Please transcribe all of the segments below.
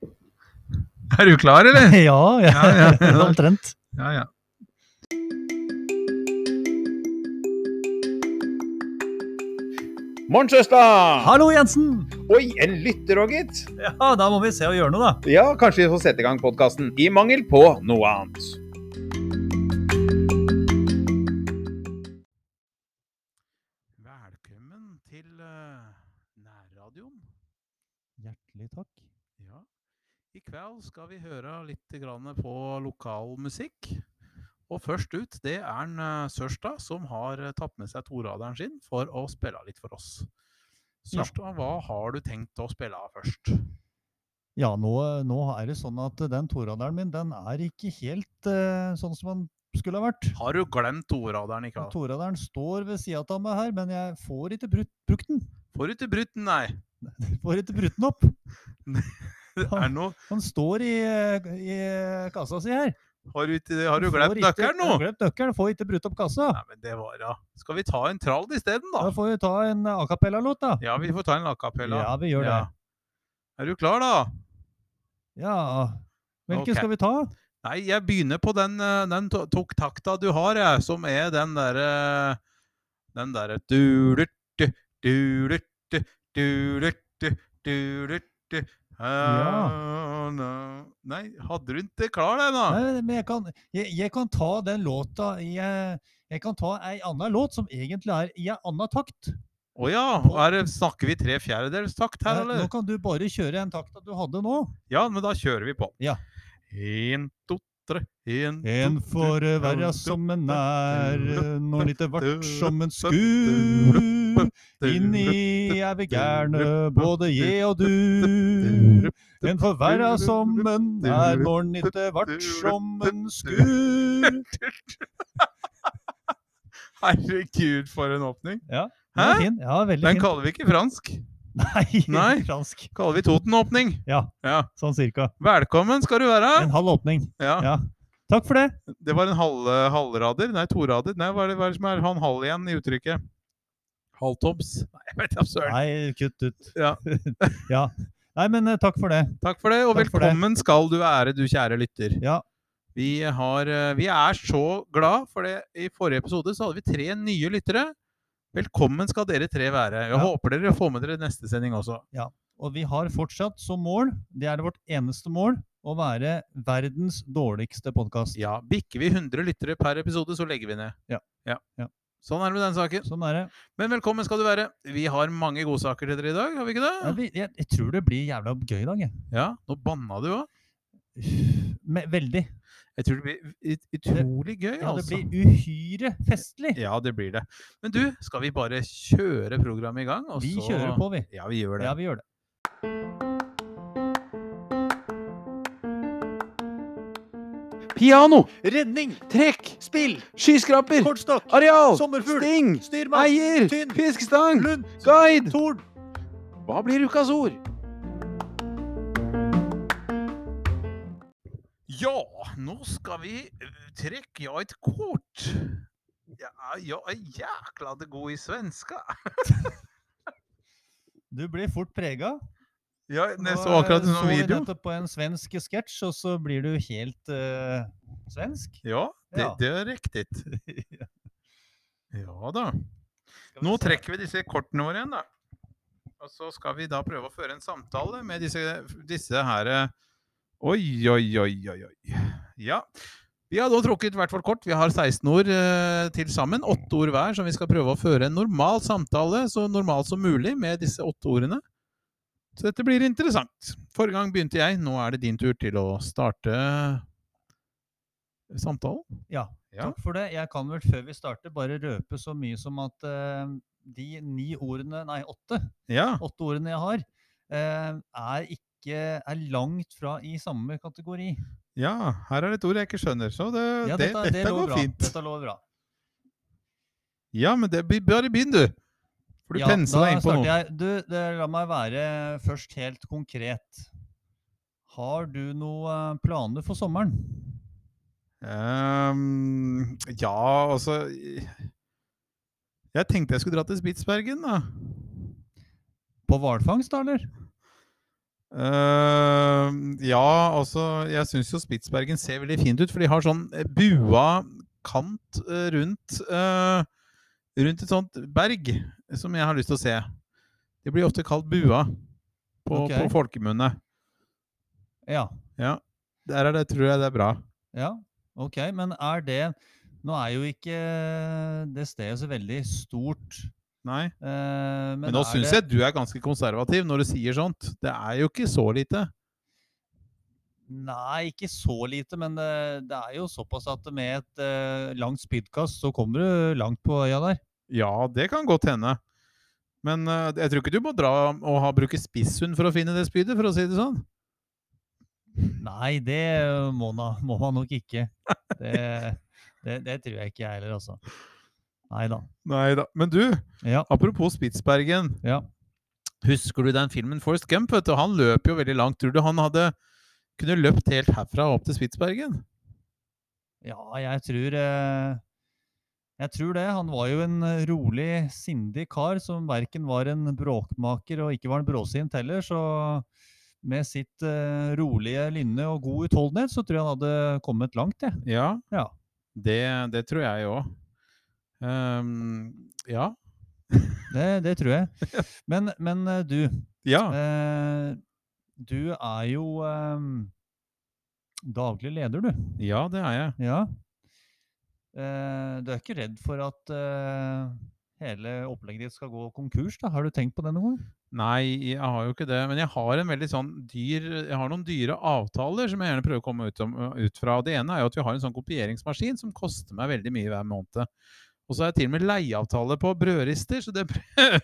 Er du klar, eller? Ja, ja, Ja, ja, ja. omtrent. Ja, ja. Morn, søster! Hallo, Jensen! Oi, en lytter òg, gitt. Ja, da må vi se og gjøre noe, da. Ja, kanskje vi får sette i gang podkasten i mangel på noe annet. Velkommen til eh, nærradioen. Hjertelig takk. Ja. I kveld skal vi høre litt grann på lokal musikk. Og først ut, det er en eh, Sørstad som har eh, tatt med seg toradaren sin for å spille litt for oss. Ja. Sørstad, hva har du tenkt å spille av først? Ja, nå, nå er det sånn at den toradaren min, den er ikke helt eh, sånn som den skulle ha vært. Har du glemt toradaren i Og kveld? Toradaren står ved sida av meg her, men jeg får ikke brukt, brukt den. Får du ikke brutt den, nei? Får ikke brutt den opp. Det Ja. er noe, Han står i, eh, i eh, kassa si her. har, du, ikke- har du Får glemt ikke- nøkkelen Jeg har nå? Glemt nøkkelen, får ikke brutt opp kassa. Nei, men det var ja. Skal vi ta en trall isteden, Da da? får vi ta en eh, a cappella-låt, da. Ja, vi får ta en la cappella. Ja, vi gjør det. Ja. Er du klar, da? Ja. Hvilken Ok. skal vi ta? Nei, jeg begynner på den, eh, den to- tok takta du har, jeg, som er den derre Den eh, derre dulert, dulert, dulert, dulert Ja. Eh, Nei, hadde du ikke klar den, da? Nei, men jeg kan, jeg, jeg kan ta den låta i eh, Jeg kan ta ei anna låt som egentlig er i ei anna takt. Å ja. Er, det- snakker vi tre fjerdedels takt her, Eh, Nå eller? kan du bare kjøre en takta du hadde nå. Ja, men da kjører vi på. Ja. En, to, tre. En, En to, tre. får være som en er, når litt vart som en skur. Inni er vi gærne, både jeg og du. En får være som en er, når den ikke vart som en skur. Herregud, for en åpning. Ja, den Hæ? er fin. Ja, veldig Den fin. kaller vi ikke fransk. Nei, Nei. fransk. Kaller vi Toten-åpning. Ja, Ja. sånn cirka. Velkommen skal du være. En halv åpning. Ja. Ja. Takk for det. Det var en halv, halvrader. Nei, torader. Nei, hva er det, hva er det som er han halv igjen i uttrykket? Halvtoms? Nei, jeg vet da søren. Nei, kutt ut. Ja. ja. Nei, men eh, takk for det. Takk for det, og Takk for det. velkommen skal du være, du kjære lytter. Ja. Vi, har, eh, vi er så glad for det. I forrige episode så hadde vi tre nye lyttere. Velkommen skal dere tre være. Jeg Ja. håper dere får med dere neste sending også. Og vi har fortsatt som mål, det er vårt eneste mål, å være verdens dårligste podkast. Ja, Bikker vi 100 lyttere per episode, så legger vi ned. Ja. Ja. Sånn er det med den saken. Sånn er det. Men velkommen skal du være. Vi har mange godsaker til dere i dag, har vi ikke Ja, det? vi- Jeg, jeg tror det blir jævla gøy i dag, jeg. Ja, Nå banna du òg. Me- Veldig. Jeg tror det blir ut- utrolig gøy, Ja, det altså. blir uhyre festlig. Ja, det blir det. Men du, skal vi bare kjøre programmet i gang? og Vi så- kjører på, vi. Ja, vi gjør altså, det. Ja, vi gjør det. Piano, Redning, trekk, spill, skyskraper, kortstokk, areal, sommerfugl, sting, styrmann, eier, tynn, fiskestang, lund, guide. torn. Hva blir ukas ord? Ja, nå skal vi eh, trekke ja et kort. Ja, jeg er jækla det god i svenska. Du blir fort prega. Ja, Nå, jeg så akkurat eh, en sånn vi video. nettopp på en svensk sketsj, og så blir du helt eh, svensk. Ja, det, Ja. det er riktig. Ja da. Nå trekker vi disse kortene våre igjen, da. Og så skal vi da prøve å føre en samtale med disse, disse her eh, Oi, oi, oi, oi, oi. Ja. Vi har da trukket hvert vårt kort. Vi har 16 ord eh, til sammen. Åtte ord hver, som vi skal prøve å føre en normal samtale så normal som mulig med disse åtte ordene. Så dette blir interessant. Forrige gang begynte jeg. Nå er det din tur til å starte eh, samtalen. Ja, Ja. takk for det. Jeg kan vel før vi starter bare røpe så mye som at eh, de ni ordene, nei åtte, Ja. åtte ordene jeg har, eh, er ikke er langt fra i samme kategori. Ja, her er et ord jeg ikke skjønner, så det, Ja, det, dette, lover går bra. fint. Dette lover bra. Ja, men det, be- bare begynn, du. For du Ja, pensla deg da inn på starter noe. Jeg, du, det, la meg være først helt konkret. Har du noen planer for sommeren? Ehm, ja, altså Jeg tenkte jeg skulle dra til Spitsbergen, da. På hvalfangst, da, eller? Ehm, Ja, altså, jeg syns jo Spitsbergen ser veldig fint ut, for de har sånn eh, bua kant eh, rundt eh, Rundt et sånt berg som jeg har lyst til å se. Det blir ofte kalt bua på, Ok. på folkemunne. Ja. Der er det, tror jeg det er bra. ja. Ok, men er det Nå er jo ikke eh, det stedet så veldig stort. Nei. eh, Men, Men nå er syns det- jeg du er ganske konservativ når du sier sånt. Det er jo ikke så lite. Nei, ikke så lite, men det, det er jo såpass at med et eh, langt spydkast, så kommer du langt på øya der. Ja, det kan godt hende. Men eh, jeg tror ikke du må dra og ha, bruke spisshund for å finne det spydet, for å si det sånn. Nei, det må, na, må man nok ikke. Det, det, det tror jeg ikke jeg heller, altså. Nei da. Nei da. Men du, Ja. apropos Spitsbergen. Ja. Husker du den filmen Forrest Gump? Vet du? Han løper jo veldig langt. Tror du han hadde kunne løpt helt herfra opp til Spitsbergen? ja, jeg tror eh, Jeg tror det. Han var jo en eh, rolig, sindig kar som verken var en bråkmaker og ikke var en bråsint heller, så med sitt eh, rolige lynne og god utholdenhet, så tror jeg han hadde kommet langt, jeg. Ja. Ja. Det, det tror jeg òg. ja. Det, det tror jeg. Men, men eh, du, Ja. eh, du er jo em, daglig leder, du. Ja, det er jeg. Ja. Eh, du er ikke redd for at eh, hele opplegget ditt skal gå konkurs? da? Har du tenkt på det noen gang? Nei, jeg har jo ikke det. Men jeg har en veldig sånn dyr Jeg har noen dyre avtaler som jeg gjerne prøver å komme ut, om, ut fra. Det ene er jo at vi har en sånn kopieringsmaskin som koster meg veldig mye hver måned. Og så har jeg til og med leieavtale på brødrister, så det prøver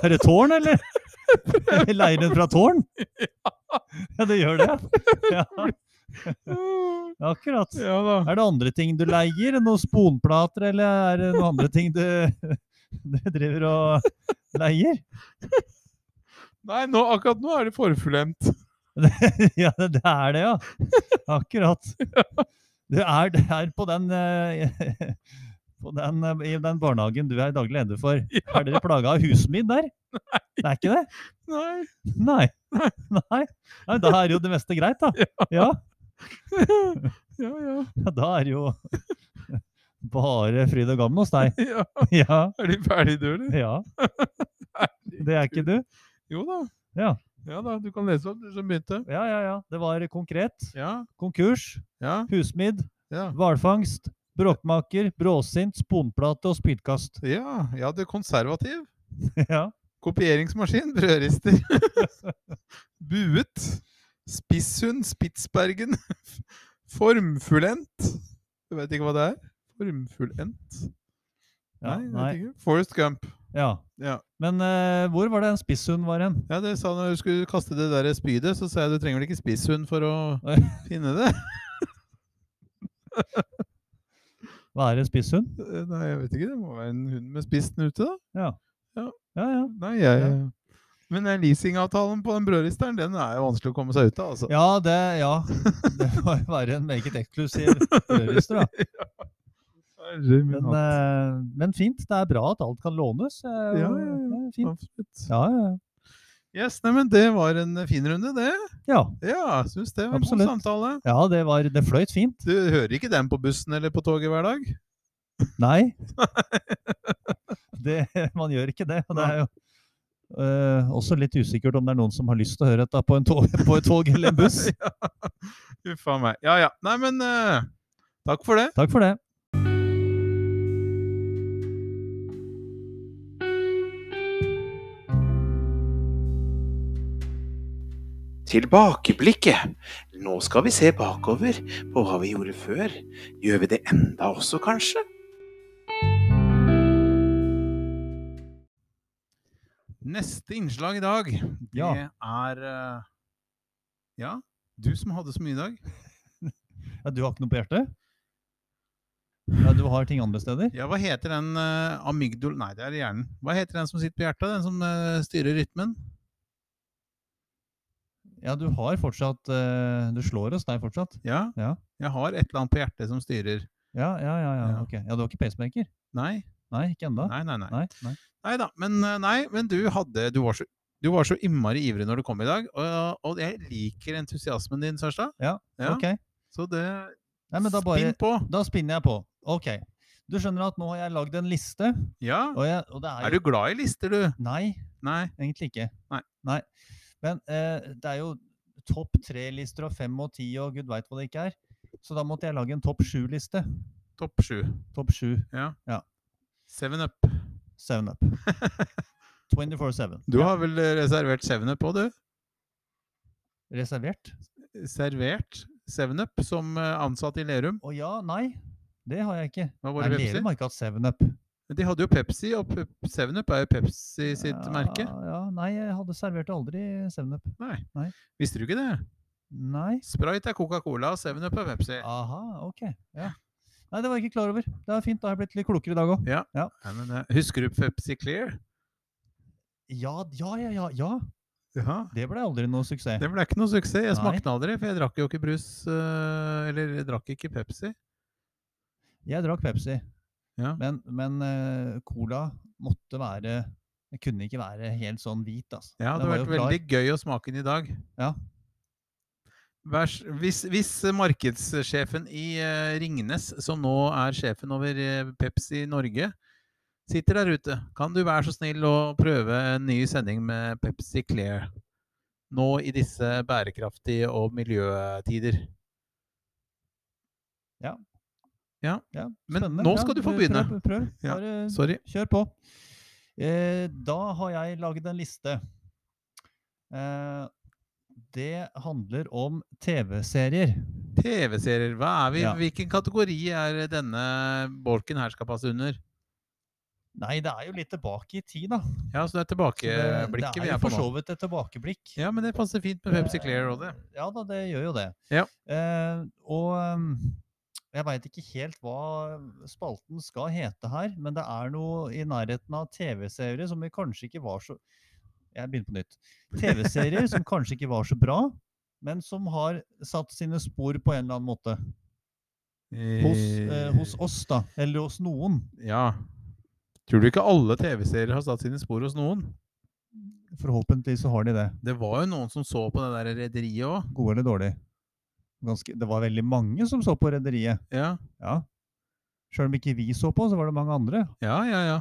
er det tårn, eller? Leier den fra tårn? Ja, det gjør det. Ja, akkurat. Ja da. Er det andre ting du leier? Noen sponplater, eller er det noen andre ting du, du driver og leier? Nei, nå, akkurat nå er det forfullendt. ja, det det er det, ja. Akkurat. Du er, det er på den, eh, på den eh, i den barnehagen du er daglig leder for. Er dere plaga av husmid der? Det er ikke det? Nei. Nei. Nei. Nei, Da er jo det meste greit, da. Ja. Ja, ja. Ja, Da er jo bare fryd og gammen hos deg. ja. Ja. Er de ferdige, du, eller? Ja. Det er ikke du? Jo da. Ja. ja da. Du kan lese opp, du som begynte. Ja, ja, ja. Det var konkret. Ja. Konkurs, Ja. husmidd, Ja. hvalfangst, bråkmaker, bråsint, sponplate og spydkast. Ja, ja det er konservativ. Ja. Kopieringsmaskin, brødrister. Buet. Spisshund, Spitsbergen. Formfullendt. Du vet ikke hva det er? Formfullendt? ja jeg vet nei. ikke. Forest Gump. Ja. Ja. Men eh, hvor var det en spisshund var hen? ja, det sa når du skulle kaste det der spydet, så sa jeg du trenger vel ikke spisshund for å Nei. finne det? Hva er en spisshund? Nei, jeg vet ikke. Det må være en hund med spiss nute, da. Ja, ja. Nei, jeg... Men den leasingavtalen på den brødristeren, den er jo vanskelig å komme seg ut av, altså. Ja, det, ja. det må jo være en meget eksklusiv rødlister, da. Herre min Men, hatt. eh, men fint. Det er bra at alt kan lånes. eh, og- Ja, ja, ja. det er Fint. Absolutt. Ja, ja. Yes, nei, men det var en fin runde, det. ja. Ja, syns det var en god Absolutt. samtale. ja det, var, det fløyt fint. Du hører ikke den på bussen eller på toget hver dag? Nei. Det, man gjør ikke det. og Det er jo eh, også litt usikkert om det er noen som har lyst til å høre dette på, en tog, på et tog eller en buss. Uff a meg. Ja ja. Nei, men eh, takk for det. Takk for det. Tilbakeblikket. Nå skal vi se bakover på hva vi gjorde før. Gjør vi det enda også, kanskje? Neste innslag i dag, det Ja. er eh, Ja, du som hadde så mye i dag. Ja, du har ikke noe på hjertet? Ja, du har ting andre steder? Ja, hva heter den eh, amygdol... Nei, det er i hjernen. Hva heter den som sitter på hjertet? Den som eh, styrer rytmen? Ja, du har fortsatt eh, Du slår oss deg fortsatt? Ja. Ja. Jeg har et eller annet på hjertet som styrer. Ja, ja, ja. ja. Ja. ok. Ja, du har ikke pacemaker? Nei, Nei, ikke ennå? nei, nei. Nei, Nei, nei. nei da. Men, eh, nei, men du hadde Du var så Du var så innmari ivrig når du kom i dag, og, og jeg liker entusiasmen din, Sørstad. Ja, Ja, Ok. Så det Nei, men da, bare, Spinn på! da spinner jeg på. Ok. Du skjønner at nå har jeg lagd en liste, Ja. og, jeg, og det er Er du jo glad i lister, du? Nei, Nei. egentlig ikke. Nei. Men eh, det er jo topp tre-lister og fem og ti og gud veit hva det ikke er. Så da måtte jeg lage en topp sju-liste. Topp sju. Topp sju Ja. Ja. Seven Up. Seven Up. 24-7. Du har vel eh, reservert Seven Up òg, du? Reservert? Servert Seven Up som eh, ansatt i Lerum. Å ja, nei. Det har jeg ikke. Hva var Jeg det Pepsi? lever meg ikke av Seven Up. De hadde jo Pepsi, og Pep- Seven Up er jo Pepsi sitt merke. Ja, ja, nei, jeg hadde servert aldri Seven Up. Visste du ikke det? Nei. Sprite er Coca-Cola, Seven Up er Pepsi. Aha, ok. Ja. Nei, det var jeg ikke klar over. Det er fint, da har jeg blitt litt klokere i dag òg. Nei, men, eh, husker du Pepsi Clear? Ja, ja, ja, ja, ja. Ja. Det ble aldri noe suksess. Det ble ikke noe suksess. Jeg Nei. smakte aldri, for jeg drakk jo ikke brus eh, Eller jeg drakk ikke Pepsi. Jeg drakk Pepsi, Ja. men, men eh, cola måtte være Det kunne ikke være helt sånn hvit, altså. Ja, det Den hadde var vært jo klar. veldig gøy å smake den i dag. Ja. Vær s- hvis, hvis markedssjefen i eh, Ringnes, som nå er sjefen over eh, Pepsi Norge, sitter der ute, kan du være så snill å prøve en ny sending med Pepsi Clear? Nå i disse bærekraftige og miljøtider. Ja, Men spennende. nå skal du få begynne. Prøv, prøv. Ja, Bare Sorry. kjør på. Eh, da har jeg laget en liste. Eh, det handler om TV-serier. TV-serier. Hva er vi? Ja. Hvilken kategori er denne bolken her skal passe under? Nei, det er jo litt tilbake i tid, da. Så Ja, så det er Det, det tilbakeblikket er vi jo er på for så nå. vidt et tilbakeblikk. Ja, men det passer fint med Pepsi Clear og det. Eh, Ja da, det gjør jo det. Ja. Eh, og um, jeg veit ikke helt hva spalten skal hete her, men det er noe i nærheten av TV-serier som vi kanskje ikke var så Jeg begynner på nytt. TV-serier som kanskje ikke var så bra, men som har satt sine spor på en eller annen måte. Hos, eh, hos oss, da. Eller hos noen, Ja. Tror du ikke alle TV-serier har satt sine spor hos noen? forhåpentlig så har de det. Det var jo noen som så på det der rederiet òg. Gode eller dårlig. Ganske, det var veldig mange som så på Rederiet. Ja. Ja. Sjøl om ikke vi så på, så var det mange andre. ja, ja, ja.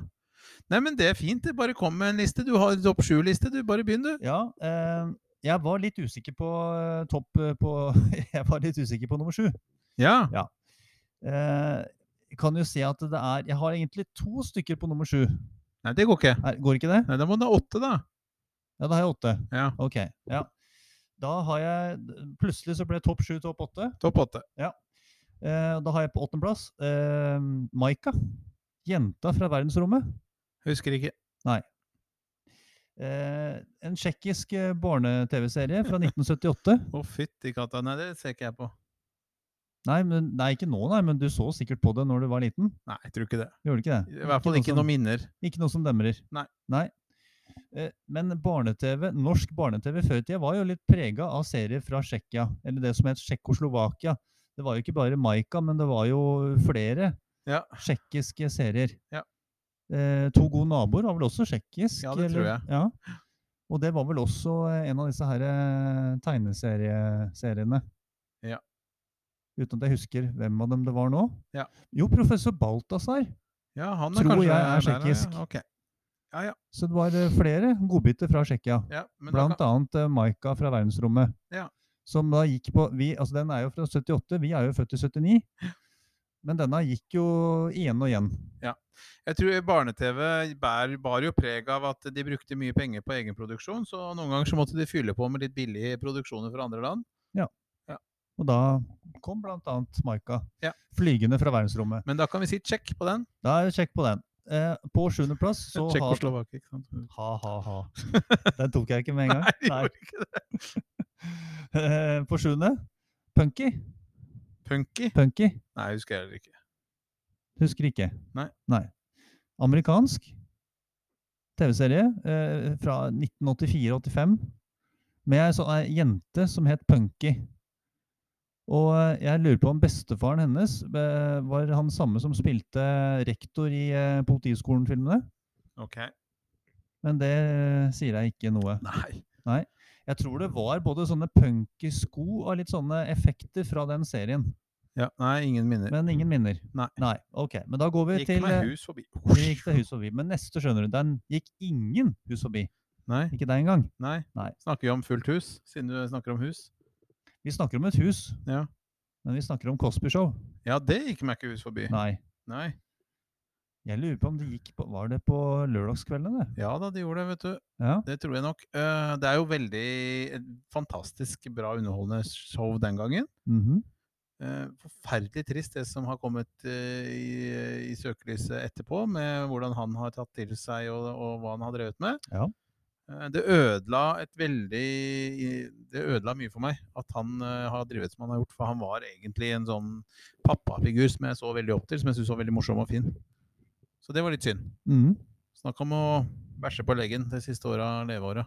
Nei, men det er fint. det. Bare kom med en liste. Du har topp sju-liste. Du, bare begynn, du. Ja, eh, jeg var litt usikker på eh, topp eh, på Jeg var litt usikker på nummer sju. Ja. Eh, kan jo se at det er Jeg har egentlig to stykker på nummer sju. Nei, det går ikke. Er, går ikke det? Nei, Da må du ha åtte, da. Ja, da har jeg åtte. Ja. Ok. Ja. Da har jeg Plutselig så ble topp sju topp åtte. Topp åtte. Eh, da har jeg på åttendeplass eh, Maika. Jenta fra verdensrommet. Husker ikke. Eh, en tsjekkisk eh, barne-TV-serie fra 1978. Å, fytti katta. Nei, det ser ikke jeg på. Nei, men, nei, ikke nå, nei, men du så sikkert på det når du var liten. Nei, jeg tror ikke det. Gjorde du ikke I det? hvert fall noe sånn ikke som- noen minner. Ikke noe som demrer. Nei. Eh, Men barne-TV, norsk barne-TV før i tida var jo litt prega av serier fra Tsjekkia, eller det som het Tsjekkoslovakia. Det var jo ikke bare Maika, men det var jo flere Ja. tsjekkiske serier. Ja. Eh, to gode naboer var vel også tsjekkisk? Ja, det tror eller- Ja. Og det var vel også eh, en av disse her eh, tegneserieseriene. Ja. Uten at jeg husker hvem av dem det var nå. Ja. Jo, professor Balthazar. Ja, han er Tror kanskje jeg der, ja. er tsjekkisk. Ok. Så det var eh, flere godbiter fra Tsjekkia. Ja, men da Blant kan... annet eh, Maika fra verdensrommet. Ja. Som da gikk på vi, altså Den er jo fra 78, vi er jo født i 79. Men denne gikk jo igjen og igjen. Jeg tror barne-TV bær, bar jo preg av at de brukte mye penger på egenproduksjon, så noen ganger så måtte de fylle på med litt billige produksjoner fra andre land. Og da kom bl.a. Maika Ja. flygende fra verdensrommet. Men da kan vi si check på den. Da er det sjekk på den. Eh, på sjuendeplass så har Tsjekkoslovakia, ikke sant? Ha, ha, ha. Den tok jeg ikke med en gang. Nei, gjorde ikke det. Eh, på sjuende Punky. Punky? Punky. Nei, husker jeg heller ikke. Husker ikke. Nei. Amerikansk TV-serie eh, fra 1984-85 med ei sånn ei jente som het Punky. Og eh, jeg lurer på om bestefaren hennes eh, var han samme som spilte rektor i eh, Politiskolen-filmene. Ok. Men det eh, sier jeg ikke noe. Nei. Jeg tror det var både sånne punky sko og litt sånne effekter fra den serien. Ja, nei, ingen minner. Men ingen minner. Nei. Nei, ok. Men da går vi Gikk til meg eh, hus forbi. Vi gikk til hus forbi. Men neste, skjønner du, den gikk ingen hus forbi. Nei, Ikke deg engang. nei. Nei. Snakker vi om fullt hus, siden du snakker om hus? Vi snakker om et hus, Ja. men vi snakker om Cosby Show. Ja, det gikk meg ikke hus forbi. Nei. Nei. Jeg lurer på om det gikk på Var det på lørdagskveldene, det? Ja da, de gjorde det, vet du. Ja. Det tror jeg nok. Eh, Det er jo veldig et fantastisk bra underholdende show den gangen. Mhm. Eh, Forferdelig trist det som har kommet eh, i, i søkelyset etterpå, med hvordan han har tatt til seg og, og hva han har drevet med. Ja. Eh, Det ødela et veldig Det ødela mye for meg at han eh, har drevet som han har gjort. For han var egentlig en sånn pappafigur som jeg så veldig opp til, som jeg syntes var veldig morsom og fin. Så det var litt synd. Mhm. Snakk om å bæsje på leggen det siste året av leveåret.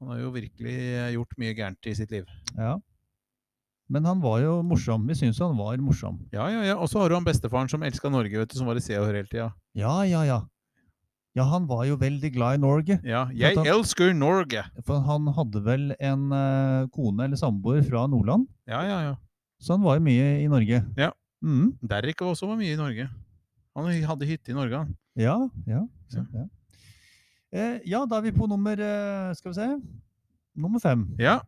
Han har jo virkelig gjort mye gærent i sitt liv. Ja. Men han var jo morsom. Vi syns jo han var morsom. Ja, ja, ja. Og så har du han bestefaren som elska Norge, vet du, som var i Se og Hør hele tida. Ja, ja, ja. Ja, han var jo veldig glad i Norge. Ja, jeg Vent da. elsker Norge! For han hadde vel en eh, kone eller samboer fra Nordland, Ja, ja, ja. så han var jo mye i Norge. Ja. Mhm. Derrick var også var mye i Norge. Han hy- hadde hytte i Norge, han. Ja, ja. sant, ja. Eh, ja, da er vi på nummer eh, Skal vi se Nummer fem. Ja.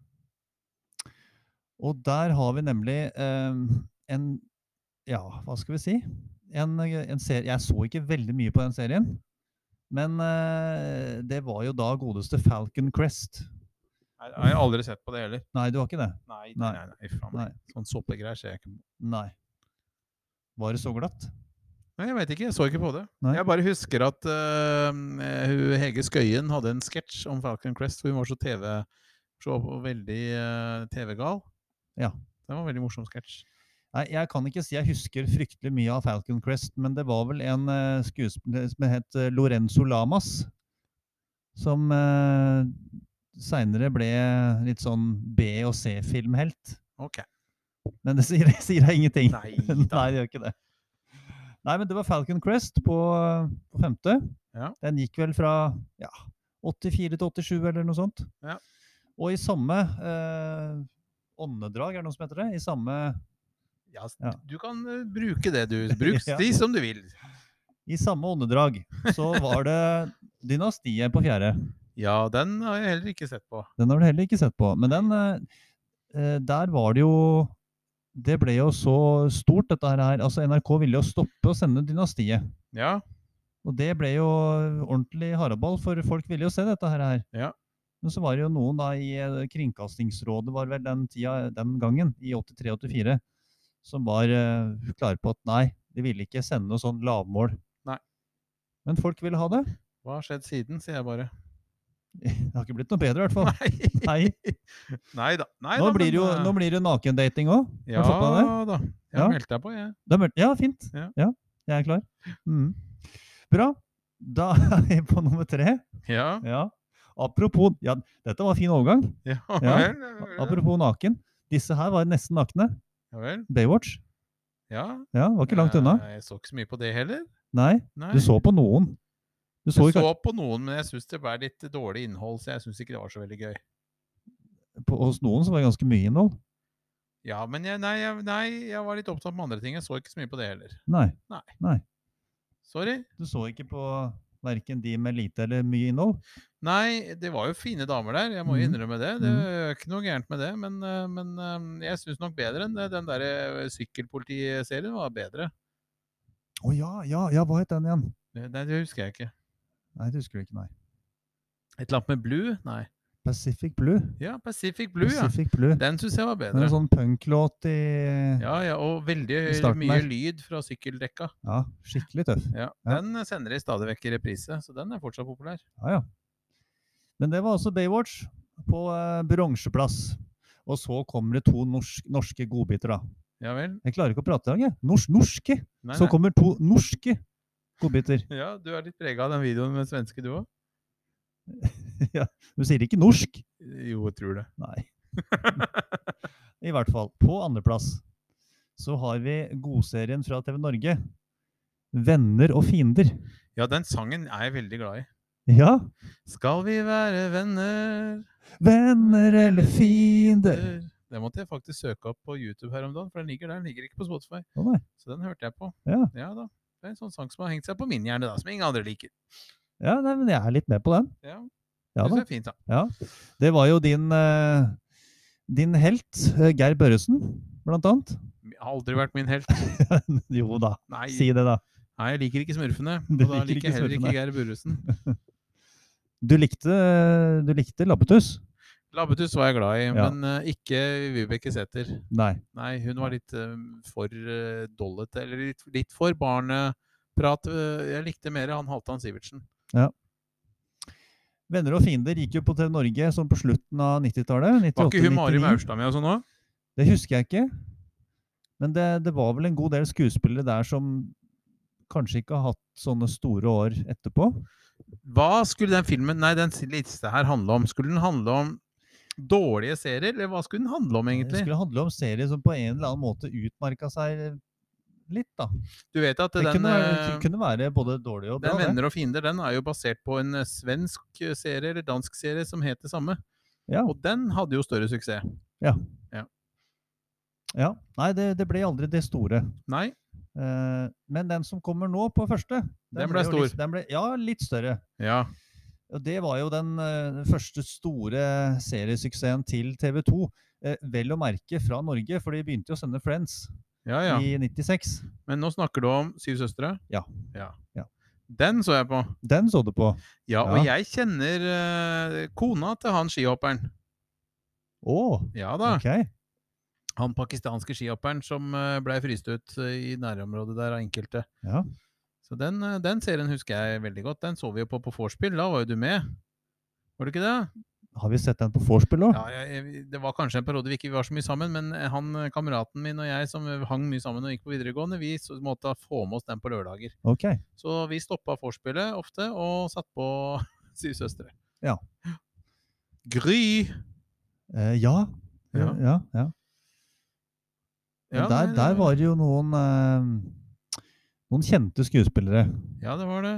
Og der har vi nemlig eh, en Ja, hva skal vi si? En, eh, en serie Jeg så ikke veldig mye på den serien. Men eh, det var jo da godeste Falcon Crest. Nei, Jeg har aldri sett på det heller. Nei, du har ikke det? Nei, nei, Nei. nei. nei, faen, Nei. Sånn soppegreier ser jeg ikke på. Nei. Var det så glatt? Nei, Jeg veit ikke, jeg så ikke på det. Nei. Jeg bare husker at eh, hun Hege Skøyen hadde en sketsj om Falcon Crest, hvor hun var så TV så veldig eh, TV-gal. Ja. Det var en veldig morsom sketsj. Nei, Jeg kan ikke si jeg husker fryktelig mye av Falcon Crest, men det var vel en eh, skuespiller som het eh, Lorenzo Lamas, som uh, seinere ble litt sånn B- og C-filmhelt. Ok. Men det sier, sier jeg ingenting. Nei Nei, det gjør ikke det. Nei, men det var Falcon Crest på, eh, på femte. Ja. Den gikk vel fra ja, 84 til 87 eller noe sånt. Ja. Og i samme eh, åndedrag, er det noe som heter det? I samme Ja, s- Ja. Du kan eh, bruke det du Bruk Ja. de som du vil. I samme åndedrag så var det Dynastiet på fjerde. Ja, den har jeg heller ikke sett på. Den har du heller ikke sett på. Men den eh, eh, Der var det jo Det ble jo så stort, dette her. Altså, NRK ville jo stoppe å sende Dynastiet. Ja, Og det ble jo ordentlig haraball, for folk ville jo se dette her. Ja. Men så var det jo noen da i eh, Kringkastingsrådet, var vel den tida den gangen, i 83-84, som var eh, klare på at nei, de ville ikke sende noe sånn lavmål. Nei. Men folk ville ha det. hva har skjedd siden, sier jeg bare. Det har ikke blitt noe bedre, i hvert fall. Nei, Nei. nei da. Nei, Nå da, blir men, det jo, eh, nå blir det jo nakendating òg. Ja fått med da. Ja. Jeg meldte deg på, jeg. Ja, fint. Ja. Ja, jeg er klar. Mm. Bra. Da er vi på nummer tre. Ja. Ja. Apropos ja, Dette var fin overgang. Ja, Ja. vel. ja vel, Apropos naken. Disse her var nesten nakne. Ja vel. Baywatch. Ja. Ja, Var ikke langt unna. Eh, Jeg så ikke så mye på det heller. Nei, Nei. du så på noen. Du så jeg ikke så på noen, men jeg syns det var litt dårlig innhold, så jeg syns ikke det var så veldig gøy. på, hos noen som var det ganske mye innhold. Ja, men jeg, nei, jeg, nei, jeg var litt opptatt med andre ting. Jeg så ikke så mye på det heller. Nei. Sorry. Du så ikke på verken de med lite eller mye innhold. Nei, det var jo fine damer der, jeg må jo Mhm. innrømme det. Det er ikke noe gærent med det, men, eh, men eh, jeg syns nok bedre enn det. den der eh, sykkelpolitiserien var bedre. Å ja, ja, ja, hva het den igjen? Det, nei, det husker jeg ikke. Nei, det husker du ikke, nei. Et eller annet med Blue? Nei. Pacific Blue. Ja, Pacific Blue, ja. Pacific Blue. Den syns jeg var Det er bedre. en sånn punklåt i ja. Ja, ja, og veldig I starten mye der. lyd fra sykkeldekka. skikkelig tøff. Ja, Ja. Den eh, sender de stadig vekk i reprise, så den er fortsatt populær. Ja, ja. Men det var altså Baywatch på eh, bronseplass. Og så kommer det to norsk, norske godbiter, da. Ja vel. Jeg klarer ikke å prate i dag, jeg. Nors, norske. Nei, så nei. kommer to norske godbiter. Ja, du er litt prega av den videoen med svenske, du òg? Du sier ikke norsk? Jo, jeg tror det. Nei. I hvert fall. På andreplass så har vi godserien fra TV Norge. Venner og fiender. Ja, den sangen er jeg veldig glad i. Ja. Skal vi være venner? Venner eller fiender. Det måtte jeg faktisk søke opp på YouTube her om dagen, for den ligger der. Den ligger ikke på Spotify. Å nei. Så den hørte jeg på. Ja. da. Det er en sånn sang som har hengt seg på min hjerne, da, som ingen andre liker. Ja, nei, men jeg er litt med på den. Ja, Ja synes jeg da. er fint, da. Det var jo din, eh, din helt, eh, Geir Børresen, blant annet. Har aldri vært min helt. jo da, Nei, si det, da. nei jeg liker ikke smurfene. Og Du da liker liker ikke jeg heller smurfene. ikke Geir Burresen. Du likte, du likte Labbetuss? Labbetuss var jeg glad i, Ja. men eh, ikke Vibeke Sæther. Nei. Nei, hun var litt eh, for uh, dollete, eller litt, litt for barneprat. Eh, jeg likte mer han Halvdan Sivertsen. Venner og fiender gikk jo på TV Norge sånn på slutten av 90-tallet. Var ikke hun Mari 98-99. Maurstad med og sånn òg? Det husker jeg ikke. Men det, det var vel en god del skuespillere der som kanskje ikke har hatt sånne store år etterpå. Hva skulle den filmen, nei, den liste her handle om? Skulle den handle om dårlige serier, eller hva skulle den handle om Det egentlig? skulle handle om serier som på en eller annen måte utmerka seg litt, da. Du vet at Det den, kunne, være, eh, kunne være både dårlig og bra. den det. Venner og fiender den er jo basert på en eh, svensk eh, serie, eller dansk serie, som het det samme. Ja. Og den hadde jo større suksess. Ja. Nei, det, det ble aldri det store. Nei, Eh, men den som kommer nå på første, Den ble jo stor. Litt, den ble, ja, litt større. ja. Og Det var jo den eh, første store seriesuksessen til TV 2. vel å merke fra Norge, for de begynte jo å sende Friends Ja, ja. i 96. Men nå snakker du om Syv søstre? Ja. ja. Ja. Den så jeg på. Den så du på. Ja, og jeg kjenner eh, kona til han skihopperen. Å, Ja da. ok. Han pakistanske skihopperen som eh, ble fryst ut eh, i nærområdet der av enkelte. Ja. Så den, eh, den serien husker jeg veldig godt. Den så vi jo på på vorspiel. Da var jo du med. Var du ikke det? Har vi sett den på vorspiel òg? Ja, jeg, jeg, det var kanskje en periode vi ikke var så mye sammen, men eh, han eh, kameraten min og jeg som eh, hang mye sammen og gikk på videregående, vi så- måtte få med oss den på lørdager. Ok. Så vi stoppa vorspielet ofte og satt på Syv søstre. Ja. Gry! Eh, ja. Ja, Ja. ja. ja. Men der, nei, der var det jo noen eh, noen kjente skuespillere. Ja, det var det.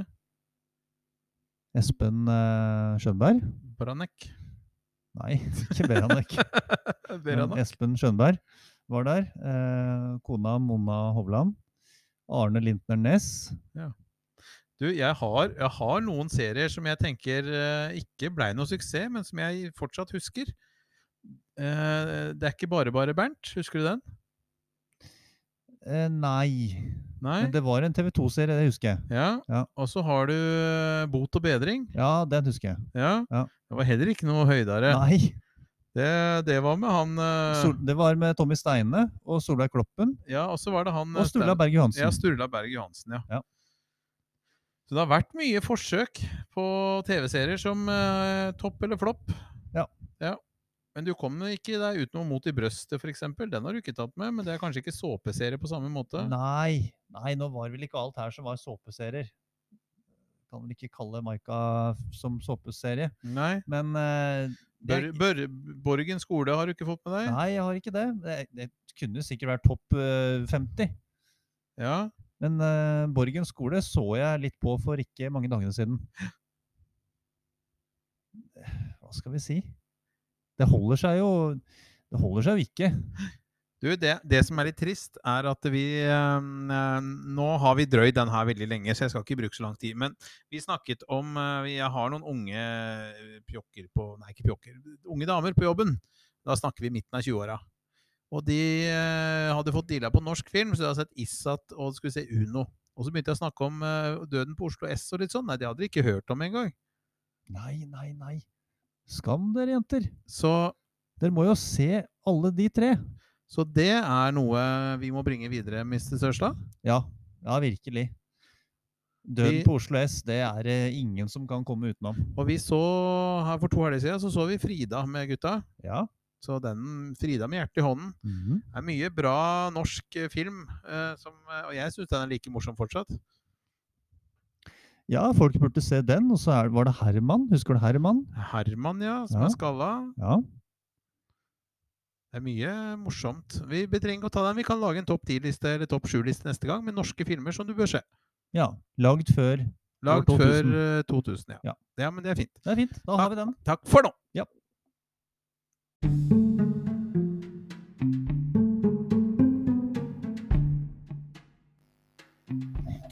Espen eh, Skjønberg? Branek. Nei, ikke Beranek. Men Beranek. Espen Skjønberg var der. Eh, kona Mona Hovland. Arne Lintner Næss. Du, jeg har, jeg har noen serier som jeg tenker eh, ikke blei noe suksess, men som jeg fortsatt husker. Eh, det er ikke bare bare Bernt. Husker du den? Eh, nei. Nei? Men det var en TV 2-serie, det husker jeg. Ja. Ja. Og så har du eh, Bot og bedring. Ja, den husker jeg. Ja. Ja. Det var heller ikke noe høydere. Nei! Det, det var med han eh, Sol, det var med Tommy Steine og Solveig Kloppen Ja, og så var det han eh, og Sturla Stan- Berg Johansen. Ja, Sturla Berg Johansen, ja. Ja. Så det har vært mye forsøk på TV-serier som eh, topp eller flopp. Ja. Men du kom ikke deg ut noe mot i brøstet, f.eks. Den har du ikke tatt med, men det er kanskje ikke såpeserie på samme måte? Nei, nei, nå var vel ikke alt her som var såpeserier. Kan vel ikke kalle Maika som såpeserie. Nei. Men eh, Bør, det, bør, Borgen skole har du ikke fått med deg? Nei, jeg har ikke det. Det, det kunne sikkert vært topp eh, 50. Ja. Men eh, Borgen skole så jeg litt på for ikke mange dagene siden. Hva skal vi si? Det holder seg jo Det holder seg jo ikke. Du, det, det som er litt trist, er at vi øhm, øhm, Nå har vi drøyd den her veldig lenge, så jeg skal ikke bruke så lang tid. Men vi snakket om øh, vi- Jeg har noen unge eh, pjokker på Nei, ikke pjokker. Unge damer på jobben. Da snakker vi midten av 20-åra. Og de øh, hadde fått deala på norsk film, så de hadde sett Issat og skulle se Uno. Og så begynte jeg å snakke om øh, Døden på Oslo S og litt sånn. Nei, det hadde de ikke hørt om engang. Nei, nei, nei. Skam dere, jenter. Så Dere må jo se alle de tre. så det er noe vi må bringe videre, Mr. Sørstad. Ja, ja virkelig. Vi- Døden på Oslo S, det er det ingen som kan komme utenom. Og vi så her for to helger siden så, så vi Frida med gutta. Ja. Så den Frida med hjertet i hånden Mhm. er mye bra norsk eh, film. eh, som, eh, og jeg syns den er like morsom fortsatt. Ja, folk burde se den. Og så er, var det Herman. Husker du Herman? Herman, ja, som Ja. er skalla. Ja. Det er mye morsomt. Vi trenger ikke å ta den. Vi kan lage en topp ti-liste eller topp sju-liste neste gang med norske filmer som du bør se. ja. Lagd før Lagd År før 2000. eh, 2000, ja. Ja. ja. Men det er fint. Det er fint. Da har vi den. Takk for nå.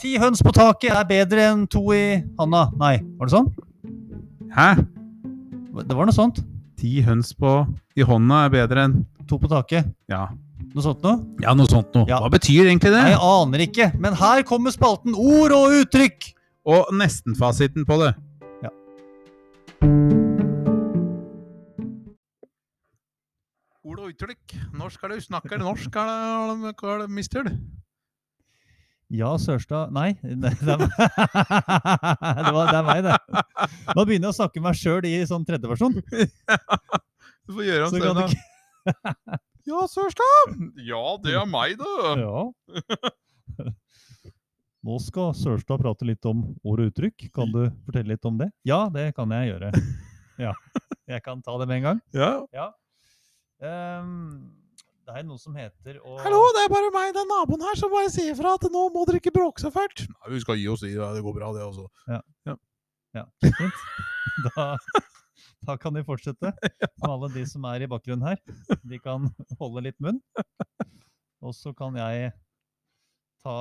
Ti høns på taket er bedre enn to i handa. Nei, var det sånn? Hæ? Det var noe sånt. Ti høns på i hånda er bedre enn To på taket. Ja, Noe sånt noe? ja noe sånt noe. Ja. Hva betyr egentlig det? Nei, jeg aner ikke. Men her kommer spalten ord og uttrykk. Og nestenfasiten på det. Ja. Ord og uttrykk. Norsk er det du snakker, norsk er det hva er det mister du? Ja, Sørstad Nei, det det er, meg. det, var, det er meg, det. Nå begynner jeg å snakke meg sjøl i sånn tredjeperson. Du får gjøre om Så kan du stønaden. ikke Ja, Sørstad! Ja, det er meg, du! Ja. Nå skal Sørstad prate litt om ord og uttrykk. Kan du fortelle litt om det? Ja, det kan jeg gjøre. Ja. Jeg kan ta det med en gang. Ja. Ehm, det er noe som heter å Hallo, det er bare meg, det er naboen her, som bare sier fra at nå må dere ikke bråke så fælt. Nei, vi skal gi oss i det, det går bra, det, altså. Ja, fint. Da, da kan de fortsette. Og alle de som er i bakgrunnen her, de kan holde litt munn. Og så kan jeg ta,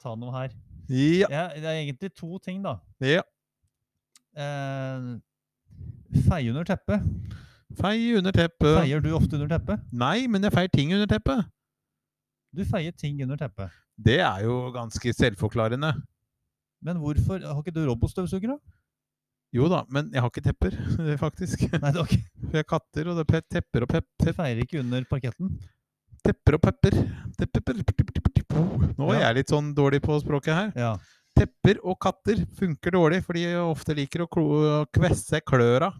ta noe her. Ja. Ja, det er egentlig to ting, da. ja. Eh, feie under teppet. Fei under teppet. Feier du ofte under teppet? Nei, men jeg feier ting under teppet. Du feier ting under teppet. Det er jo ganske selvforklarende. Men hvorfor har ikke du robotstøvsuger, da? Jo da, men jeg har ikke tepper, faktisk. Nei, du har ikke. For jeg har katter, og det er pe- tepper og pep, Du tep, feier ikke under parketten. tepper og pepper. Tepper. Nå er jeg litt sånn dårlig på språket her. Ja. Tepper og katter funker dårlig, for de ofte liker å klo- kvesse kløra.